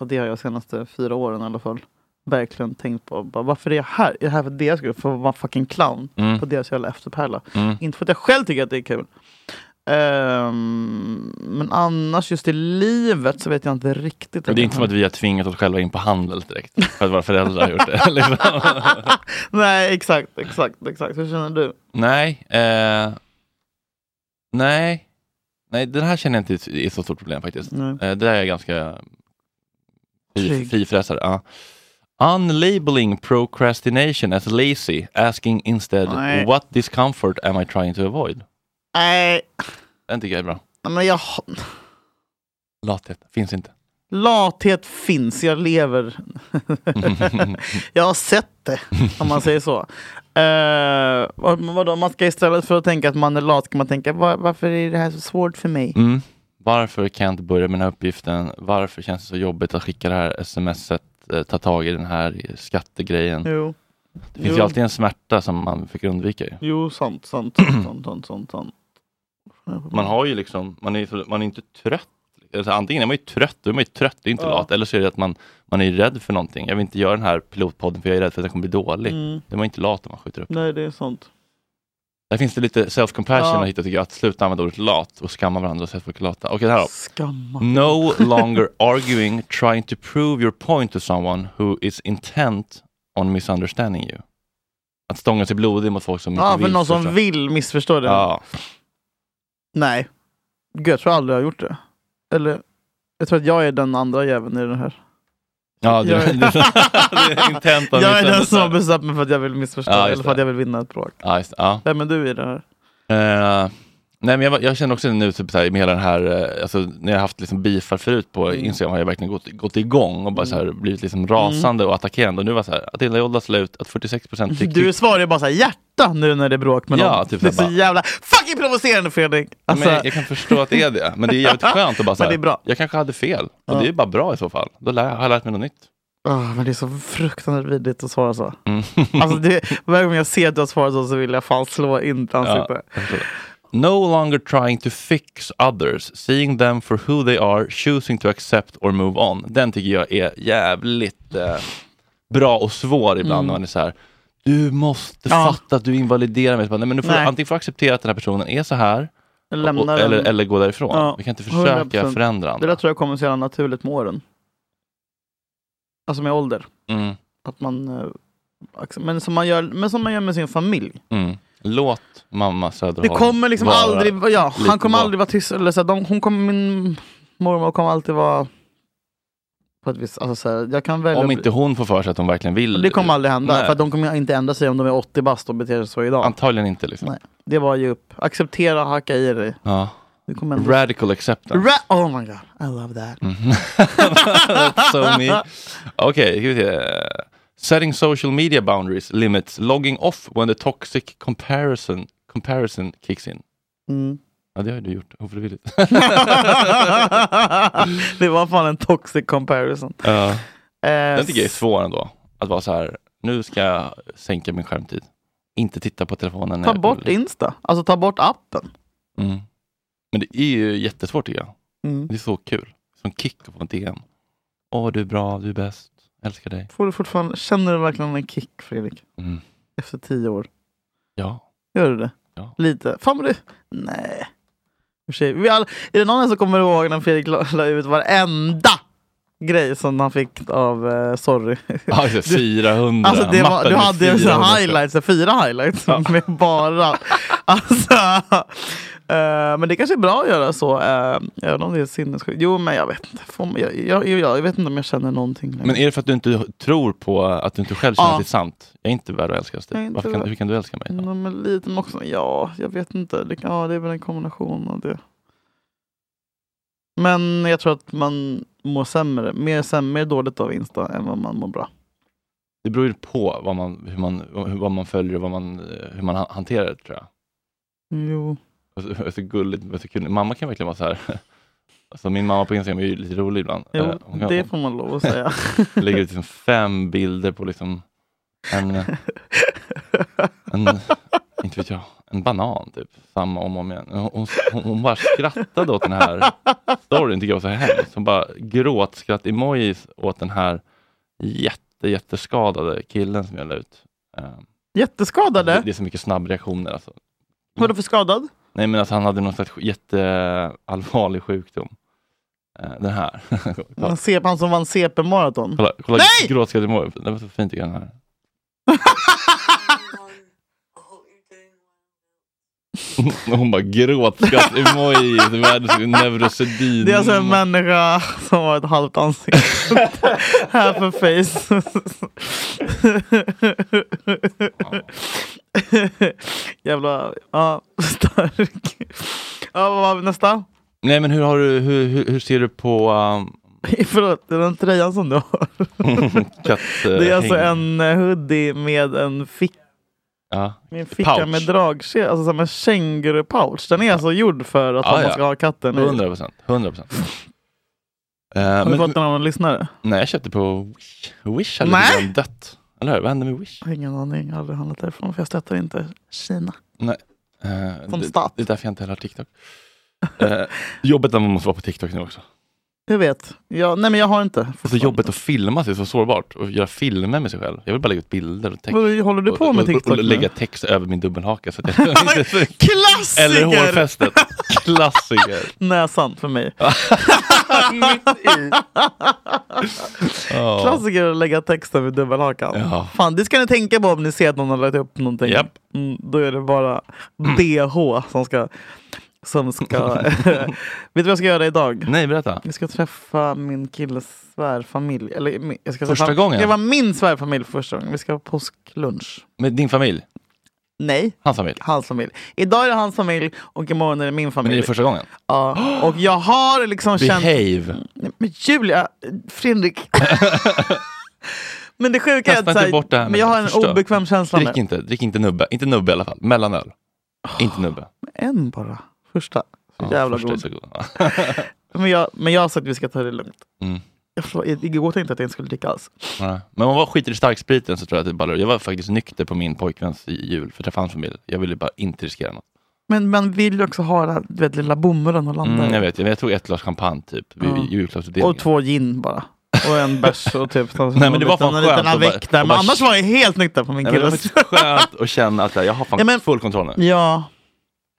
och det har jag senaste fyra åren i alla fall verkligen tänkt på. Bara, varför är jag här? Är jag här för deras skull? För att vara en fucking clown Mm. på deras jävla efterpärla. Mm. Inte för att jag själv tycker att det är kul. Ehm, men annars just i livet så vet jag inte riktigt. Och det är inte som att vi har tvingat oss själva in på handel direkt för att våra föräldrar har gjort det. [LAUGHS] Liksom. [LAUGHS] Nej, exakt, exakt, exakt. Hur känner du? Nej. Eh, nej. Nej, den här känner jag inte är ett så stort problem faktiskt. Nej. Eh, det där är jag ganska fri- Trygg. frifräsare. Ja. Unlabeling procrastination as lazy, asking instead Nej. what discomfort am I trying to avoid? Nej, Den tycker jag är bra. men jag... Lathet finns inte. [LAUGHS] Lathet finns, jag lever. jag har sett det, om man säger så. Uh, vad, vadå, man ska istället för att tänka att man är lat, ska man tänka "Var- varför är det här så svårt för mig? Mm. Varför kan jag inte börja med den här uppgiften? Varför känns det så jobbigt att skicka det här smset, eh, ta tag i den här skattegrejen? Jo. Det finns Jo. ju alltid en smärta som man fick undvika. Ju. Jo, [CLEARS THROAT] sant, sant, sant, sant, sant, sant, sant. Man har ju liksom, man är, så- man är inte trött. Alltså, antingen är man ju trött, då är man ju trött, det är inte Ja. lat. Eller så är det att man, man är rädd för någonting. Jag vill inte göra den här pilotpodden för jag är rädd för att den kommer bli dålig. Mm. Då är man inte lat om man skjuter upp. Nej, det är sant. Där finns det lite self-compassion Ja. att hitta tycker jag. Att sluta använda ordet lat och skamma varandra istället för att lata. Okej, det här då. Skamma. No longer arguing, trying to prove your point to someone who is intent on misunderstanding you. Att stånga sig blodig mot folk som inte [LAUGHS] Ja, vill. för någon förstå. som vill missförstå det. Ja. Nej. Gud, jag tror aldrig jag har gjort det. Eller, jag tror att jag är den andra jäveln i den här. Ja, du, Jag [LAUGHS] du, är- du är intent on jag är den misunderstanding. som har bestämt mig för att jag vill missförstå Ja, just eller för att det. jag vill vinna ett bråk. Ja, just, det. ja. Vem är du i det här? Eh, nej, men jag, var- jag känner också nu typ, så här, med hela den här, eh, alltså, när jag har haft liksom, beefar förut på Mm. Instagram har jag verkligen gått, gått igång och bara så här, blivit liksom, rasande och attackerande. Och nu var det så här, Attila Jolda la ut att 46 [LAUGHS] procent tyckte... Du svarar ju bara såhär hjärta nu när det är bråk med Ja, någon. typ det är så här så jävla fucking provocerande Fredrik! Alltså, men jag, jag kan förstå att det är det, men det är jävligt skönt att bara så [LAUGHS] Men här, det är bra. jag kanske hade fel. Och Ja. det är bara bra i så fall. Då lär, har jag lärt mig något nytt. Åh, men det är så fruktansvärt vidrigt att svara så. Mm. Alltså, det, varje gång jag ser att du har svarat så, så vill jag fan slå in ditt ansikte. jag förstår det. No longer trying to fix others, seeing them for who they are, choosing to accept or move on. Den tycker jag är jävligt eh, bra och svår ibland Mm. när man är så här. Du måste Ja. fatta att du invaliderar mig. Så bara, Nej, men nu får du, Nej. antingen får du acceptera att den här personen är så här Jag och, och, lämnar eller, den. eller gå därifrån. Ja, Vi kan inte försöka 100%. förändra Det andra. där tror jag kommer så jävla naturligt med åren. Alltså med ålder. Mm, Att man, eh, acc- men, som man gör, men som man gör med sin familj. mm. Låt mamma Det Söderholm kommer liksom vara aldrig, ja, lite han kommer bra. aldrig vara tyst. Eller så här, de, hon kommer, min mormor kommer alltid vara På ett vis, alltså, så här, jag kan välja Om inte hon får för sig att hon verkligen vill. Det kommer aldrig hända. Nej. För att de kommer inte ändra sig om de är 80 bast och beter sig så idag. Antagligen inte. Liksom. Nej. Det var ju upp. Acceptera, hacka i dig. Ja. Det kommer ändå- Radical acceptance. Ra- oh my god, I love that. That's Mm. [LAUGHS] so me. Okej, okay, Setting social media boundaries limits logging off when the toxic comparison, comparison kicks in. Mm. [LAUGHS] Ja, det har du gjort ofrivilligt. det var fan en toxic comparison. [LAUGHS] Ja. Eh, Den tycker jag är svår ändå. Att vara så här, nu ska jag sänka min skärmtid. Inte titta på telefonen. när Ta jag- bort Insta, alltså ta bort appen. Mm. Men det är ju jättesvårt tycker jag. Mm. Det är så kul. Som kick på en DM. Åh, du är bra, du är bäst, älskar dig. Får du fortfarande, känner du verkligen en kick Fredrik? Mm. Efter tio år? Ja. Gör du det? Ja. Lite? Fan vad du... Nej. I och för sig, Vi all... Är det någon här som kommer ihåg när Fredrik la, la ut varenda grej som han fick av eh, Sorry? [LAUGHS] Ja, just det, 400. Alltså det var, Mappen du med hade ju så 400. här highlights, så här fyra highlights med [LAUGHS] bara... Alltså, eh, men det kanske är bra att göra så, eh, även om det är sinnessjukt. Jo, men jag vet inte. Får man- Jag, jag, jag, jag vet inte om jag känner någonting. längre. Men är det för att du inte tror på att du inte själv känner Ja. att det är sant? Jag är inte värd att älskas. Jag är dig. inte Varför kan, värd- Mm. hur kan du älska mig? Ja, men lite men också, ja, jag vet inte. Det, kan- ja, det är väl en kombination av det. Men jag tror att man mår sämre, mer, sämre, mer dåligt av Insta än vad man mår bra. Det beror ju på vad man, hur, man, hur- vad man följer och vad man, eh, hur man han- hanterar det tror jag. Jo. Och [LAUGHS] så- och så gulligt, och så kul. Mamma kan verkligen vara så här. [LAUGHS] Alltså min mamma på Instagram är ju lite rolig ibland. Jo, Eh, hon kan- det får man lov att säga. lägger ut liksom fem bilder på liksom en, eh, en, inte vet jag, en banan typ. Samma om och om igen. Hon, hon, hon- hon bara skrattade [LAUGHS] åt den [LAUGHS] här storyn, tycker jag var så hemskt. Hon bara gråtskratt-emojis åt den här jätte, jätteskadade killen som jag la ut. Eh, Jätteskadade? Det, det är så mycket snabbreaktioner alltså. Vadå för skadad? Nej men alltså han hade någon slags jätteallvarlig sjukdom. Eh, Den här. [LAUGHS] Man ser på han som vann CP-maraton. Kolla, kolla Nej! gråtskratt i morgon. Det var så fint tycker jag den här. [LAUGHS] Hon bara gråtskratt emoji, världens neurosedyn. Det är alltså en människa som har ett halvt ansikte. [LAUGHS] Half a face. Jävla... Ja, stark. Ja, vad har vi nästa? [LAUGHS] Nej men hur, har du, hur, hur, hur ser du på um, Förlåt, det är den tröjan som du har. katt, eh, Det är alltså häng? en eh, hoodie med en ficka. Ja. Med en ficka med dragkedja, alltså som en känguru-pouch. Den är alltså gjord för att Ja, man ja. ska ha katten i. 100 procent. 100 procent. Eh, Har du fått den av en lyssnare? Nej, jag köpte på Wish. Wish hade Nej. redan dött. Eller hur? Vad hände med Wish? Jag har ingen aning, jag har aldrig handlat därifrån för jag stöttar inte Kina. Nej. Eh, Från det, stat. det är därför jag inte heller har TikTok. Eh, jobbet när man måste vara på TikTok nu också. Jag vet. Jag, nej men jag har inte. Alltså jobbet att filma sig är så sårbart. Och göra filmer med sig själv. Jag vill bara lägga ut bilder och text. Vad håller du på och, med och, och, TikTok och nu? lägga text över min dubbelhaka. Så att jag inte ser- [LAUGHS] Klassiker! Eller hårfästet. Klassiker. Näsan för mig. Ja. Klassiker att lägga text över dubbelhakan. Ja. Fan, det ska ni tänka på om ni ser att någon har lagt upp någonting. Japp. Mm. Mm, då är det bara DH som ska... [LAUGHS] Som ska [LAUGHS] vet du vad jag ska göra idag? Nej, berätta. Jag ska träffa min killes svärfamilj. Eller, min- jag ska Första träffa, gången? Det var min svärfamilj för första gången. Vi ska ha påsklunch. Med din familj? Nej, Hans familj? hans familj. Idag är det hans familj och imorgon är det min Men familj. är det första gången? Ja, och jag har liksom känt... Behave. Nej, Men Julia, Fredrik. men det sjuka är Kasta att inte så här, bort det här. men jag har en Förstör. obekväm känsla Drick nu. inte, drick inte nubbe. Inte nubbe i alla fall. Mellanöl. Inte nubbe. En bara, första. Så Ja, Ah, jävla första är god. så god. Men jag, men jag har sagt att vi ska ta det lugnt. Mm. Jag förstår, igår tänkte jag att jag inte skulle dricka alls. Nej. Men om man skiter i starkspriten så tror jag att det ballar ur. Jag var faktiskt nykter på min pojkväns jul för att träffa hans familj. Jag ville bara inte riskera något. Men man vill ju också ha den här du vet, lilla bomullen och landa Mm, i. jag vet, jag tog ett glas champagne typ vid Ja. ja. julklappsutdelningen. Och två gin bara. Och en bärs och [LAUGHS] typ Nej, men det var fan en liten skönt att bara- avec där. att Men bara- annars var jag helt nykter på min Nej, men det var killes. faktiskt skönt att känna att jag har fan Ja, men- full kontroll nu. Ja.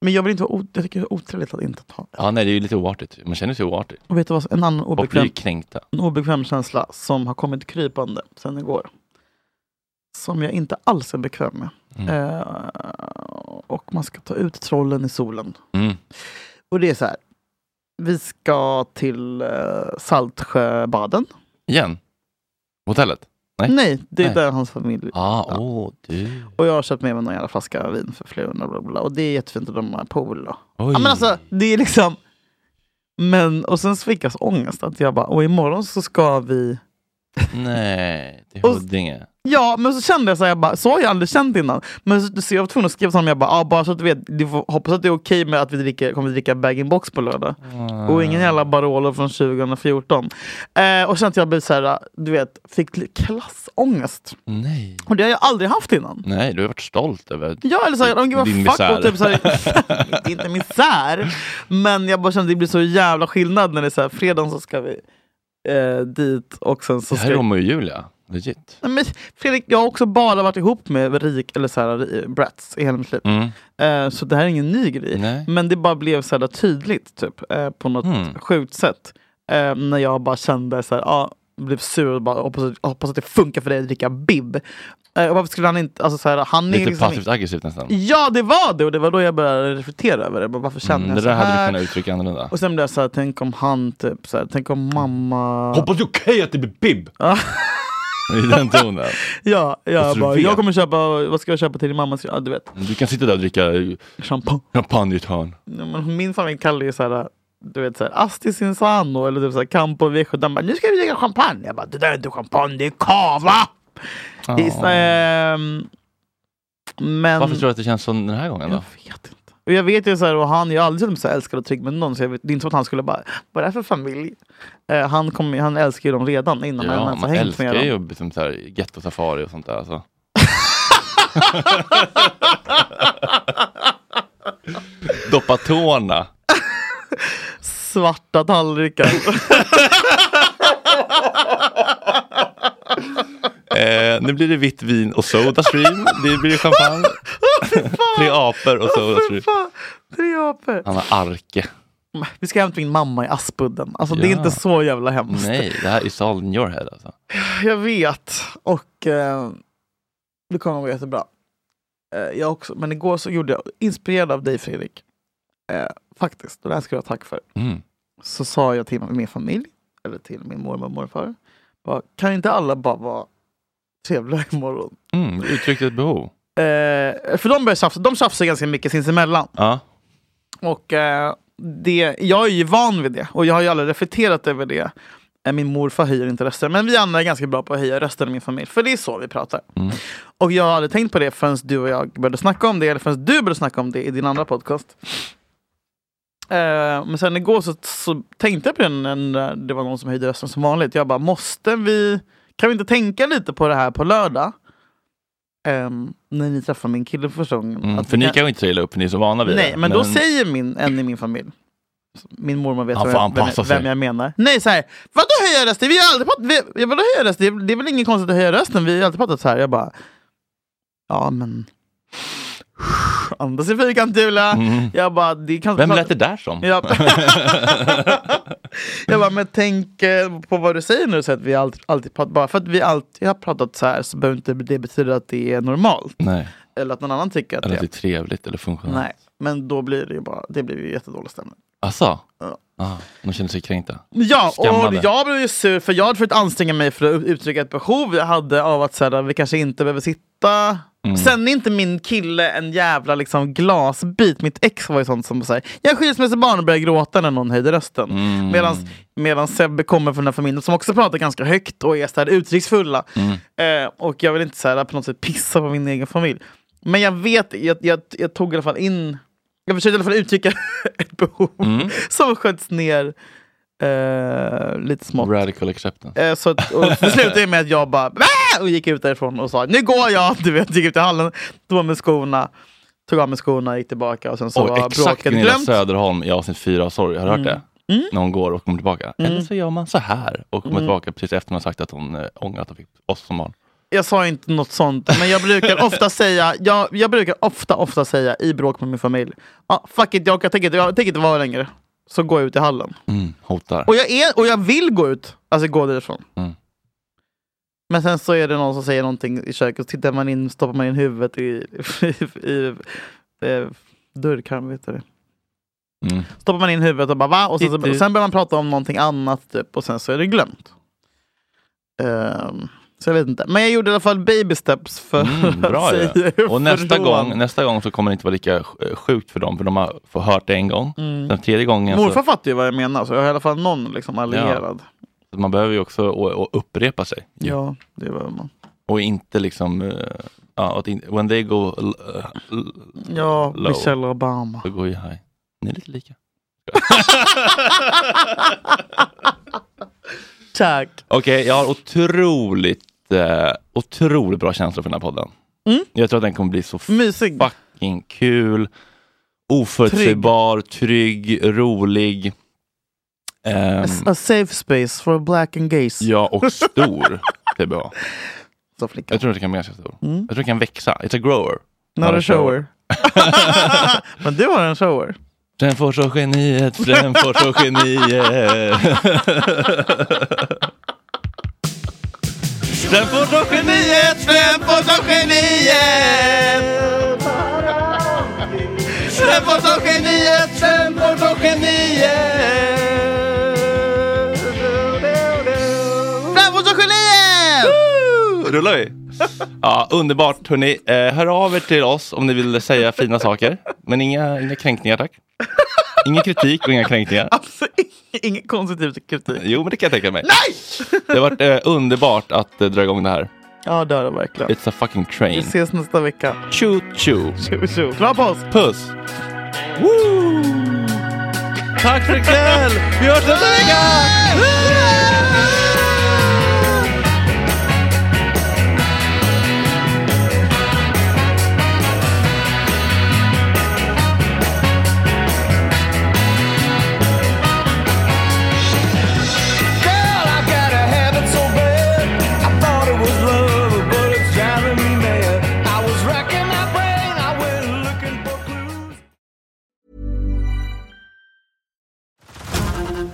Men jag vill inte vara o- jag tycker det är otrevligt att inte ta. Ja, nej, det är ju lite oartigt. Man känner sig oartig. Och vet du vad, en annan Folk blir obekväm, ju kränkta. en obekväm känsla som har kommit krypande sedan igår. Som jag inte alls är bekväm med. Mm. Eh, och man ska ta ut trollen i solen. Mm. Och det är så här. Vi ska till eh, Saltsjöbaden. Igen? Hotellet? Nej. Nej, det är där hans familj Ah, åh, du. Och jag har köpt med mig någon jävla flaska vin för flun och bla bla, bla. Och det är jättefint och de har pool. Och... Oj. Ja, men alltså, det är liksom... Men, och sen svickas ångest att jag bara, och imorgon så ska vi... Nej, till Huddinge. Ja, men så kände jag så här, jag bara, så har jag aldrig känt innan. Men så, så jag var tvungen att skriva till honom, jag bara, ah, bara så att du vet, du får, hoppas att det är okej med att vi dricker, kommer dricka bag-in-box på lördag. Och ingen jävla Barolo från 2014. Eh, och sen att jag blev så här, du vet, fick li- klassångest. Nej. Och det har jag aldrig haft innan. Nej, du har varit stolt över Ja, eller så här, oh, gud, vad Din fuck, misär. och [LAUGHS] typ så här, det är inte misär. Men jag bara kände att det blir så jävla skillnad när det är så här, fredagen så ska vi eh, dit och sen så Det här ska är vi Romeo och Julia. Legit. Nej, men Fredrik, jag har också bara varit ihop med rik eller så här, eh, brats i hela mitt liv. Mm. Eh, så det här är ingen ny grej. Men det bara blev så här tydligt typ, eh, på något Mm. sjukt sätt. Eh, när jag bara kände så här, ah, blev sur och bara hoppas, att- hoppas att det funkar för dig att dricka bib. Eh, och varför skulle han inte, alltså så här, han är Lite liksom passivt aggressivt nästan. Ja, det var det! Och det var då jag började reflektera över det. Bara, varför känner Mm, det jag så där hade här? du kunnat uttrycka annorlunda. [LAUGHS] Och sen blev jag så här, tänk om han typ, så här, tänk om mamma... Hoppas det är okej att det blir bib! I den tonen. [LAUGHS] Ja, Fast jag, Alltså, du bara, vet. jag kommer köpa, vad ska jag köpa till din mamma? Ja, du vet. Du kan sitta där och dricka champagne, champagne i ett hörn. Ja, men Min familj kallar ju så här, du vet, så här, Astis Insano eller typ så här, Campo Viejo. De bara, nu ska vi dricka champagne. Jag bara, det där är inte champagne, det är cava! Ja. Det är så, ehm, men... Varför tror du att det känns så den här gången då? Och jag vet ju så här, och han, jag har aldrig känt mig så här älskad och trygg med någon. Så jag vet, det är inte som att han skulle bara, vad är det här för familj? Eh, han, kom, han älskar ju dem redan innan han Ja, ens har man hängt med älskar dem. ju liksom så här gettosafari och sånt där. [LAUGHS] Alltså. Doppa tårna. [LAUGHS] Svarta tallrikar. Eh, nu blir det vitt vin och Sodastream. Det blir champagne. Tre apor och Sodastream. Fan, Tre apor. Han har arke. Vi ska hem till min mamma i Aspudden. Alltså det är Ja. inte så jävla hemskt. Nej, [LAUGHS] det här är all in your head alltså. Jag vet. Och eh, det kommer att gå jättebra. Eh, jag också, men igår så gjorde jag, inspirerad av dig Fredrik, eh, faktiskt, och det här ska jag ha tack för. Mm. Så sa jag till min familj, eller till min mormor och morfar, bara, kan inte alla bara vara trevliga imorgon? Mm, du uttryckte ett behov. Eh, för de börjar tjafsa, de tjafsar ganska mycket sinsemellan. Ja. Och eh, det, jag är ju van vid det och jag har ju aldrig reflekterat över det. Eh, Min morfar höjer inte röster, men vi andra är ganska bra på att höja rösten i min familj. För det är så vi pratar. Mm, Och jag har aldrig tänkt på det förrän du och jag började snacka om det, eller förrän du började snacka om det i din andra podcast. Eh, men sen igår så, så tänkte jag på det när det var någon som höjde rösten som vanligt. Jag bara, måste vi... Kan vi inte tänka lite på det här på lördag? Ehm, när ni träffar min kille för första gången. Mm, Att för vi ni kan- kan ju inte trilla upp, för ni är så vana vid Nej, det. men, då säger min, en i min familj, min mormor vet Han vem, får jag- vem, anpassa jag- vem sig. jag menar. Nej, så här, vadå höja rösten? Vi har aldrig pratat, vi, vadå höja rösten? Det, det är väl inget konstigt att höja rösten? Vi har alltid pratat så här. Jag bara, ja men... Andas i fyrkanthjula. Mm. Jag bara, det kan Vem lät det där som? Ja. [LAUGHS] jag bara, men tänk eh, på vad du säger nu. Så att vi alltid, alltid pratar, bara för att vi alltid har pratat så här så behöver inte det betyda att det är normalt. Nej. Eller att någon annan tycker att Eller det att det är trevligt eller funktionellt. Nej, men då blir det ju bara, det blir ju jättedålig stämning. Alltså? Ja. Ah, de känner sig kränkta. Ja, och Skammade. jag blev ju sur för jag hade försökt anstränga mig för att uttrycka ett behov jag hade av att så här, vi kanske inte behöver sitta. Mm. Sen är inte min kille en jävla liksom, glasbit. Mitt ex var ju sånt som säger jag skilsmässobarn och började gråta när någon höjde rösten. Medans, medan Sebbe kommer från den här familjen som också pratar ganska högt och är så här uttrycksfulla. Eh, och jag vill inte så här, på något sätt pissa på min egen familj. Men jag vet, jag, jag, jag tog i alla fall in, jag försökte i alla fall uttrycka [LAUGHS] ett behov Mm. som sköts ner eh, lite smått. Radical acceptance. Eh, så att, och det slutade ju med att jag bara "Bäh!" och gick ut därifrån och sa nu går jag, [LAUGHS] du vet, gick ut i hallen, tog av mig skorna, tog av mig skorna, gick tillbaka och sen så Oj, var exakt bråket Gunilla glömt. Söderholm i avsnitt fyra av Sorry. Har du hört Mm. det? När hon går och kommer tillbaka. Mm. Eller så gör man så här och kommer Mm. tillbaka precis efter hon har sagt att hon eh, ångrar att hon fick oss som barn. Jag sa inte något sånt, men [LAUGHS] jag brukar ofta säga, jag, jag brukar ofta, ofta säga i bråk med min familj, ah, fuck it, jag, orkar- tänker inte- jag tänker inte vara längre. Så går jag ut i hallen. Mm, hotar. Och jag, är, och jag vill gå ut, alltså gå därifrån. Mm. Men sen så är det någon som säger någonting i köket, och tittar man in, stoppar man in huvudet i, [LAUGHS] i, i, eh, dörrkarmen, vet du det? Mm. Stoppar man in huvudet och bara va? Och sen, så, och sen börjar man prata om någonting annat typ, och sen så är det glömt. Ehm, så jag vet inte. Men jag gjorde i alla fall baby steps för Mm, bra [LAUGHS] att säga ju. Och nästa ifrån. gång, nästa gång så kommer det inte vara lika eh, sjukt för dem, för de har fått hört det en gång. Mm. Den tredje gången... Morfar fattar ju vad jag menar, så jag har i alla fall någon liksom allierad. Så man behöver ju också å- å- upprepa sig. Ja, det behöver man. Och inte liksom... eh, Ja, att in, when they go l- eh, l- Ja, low, Michelle Obama. så går ju high. Ni är lite lika. [LAUGHS] Tack. Okej, jag har otroligt, eh, otroligt bra känslor för den här podden. Mm. Jag tror att den kommer bli så Mysig. fucking kul, oförutsägbar, trygg, rolig. Ehm, A safe space for black and gays. ja, och stor [LAUGHS] TBA. Så jag tror att det kan bli ganska stor. Mm. Jag tror det kan växa. It's a grower. Not a shower. [LAUGHS] Men du har en shower. [LAUGHS] Frändfors och geniet, Frändfors och geniet. Frändfors och geniet, Frändfors och geniet. Släpp oss och geniet, släpp oss och geniet. Framfors och geniet! Rullar vi? Ja, underbart hörni. Eh, Hör av er till oss om ni vill säga fina saker. Men inga, inga kränkningar tack. Ingen kritik och inga kränkningar. Ingen konstruktiv kritik. Jo, men det kan jag tänka mig. Nej! Det har varit eh, underbart att eh, dra igång det här. Ja, det har det verkligen. It's a fucking Vi train. ses nästa vecka. Tjo tjo! Tjo tjo. Kram på oss. Puss! Woo! Tack för ikväll! Vi hörs nästa vecka! Girl, I got a habit so bad. I thought it was love, but it's driving me mad. I was racking my brain, I went looking for clues.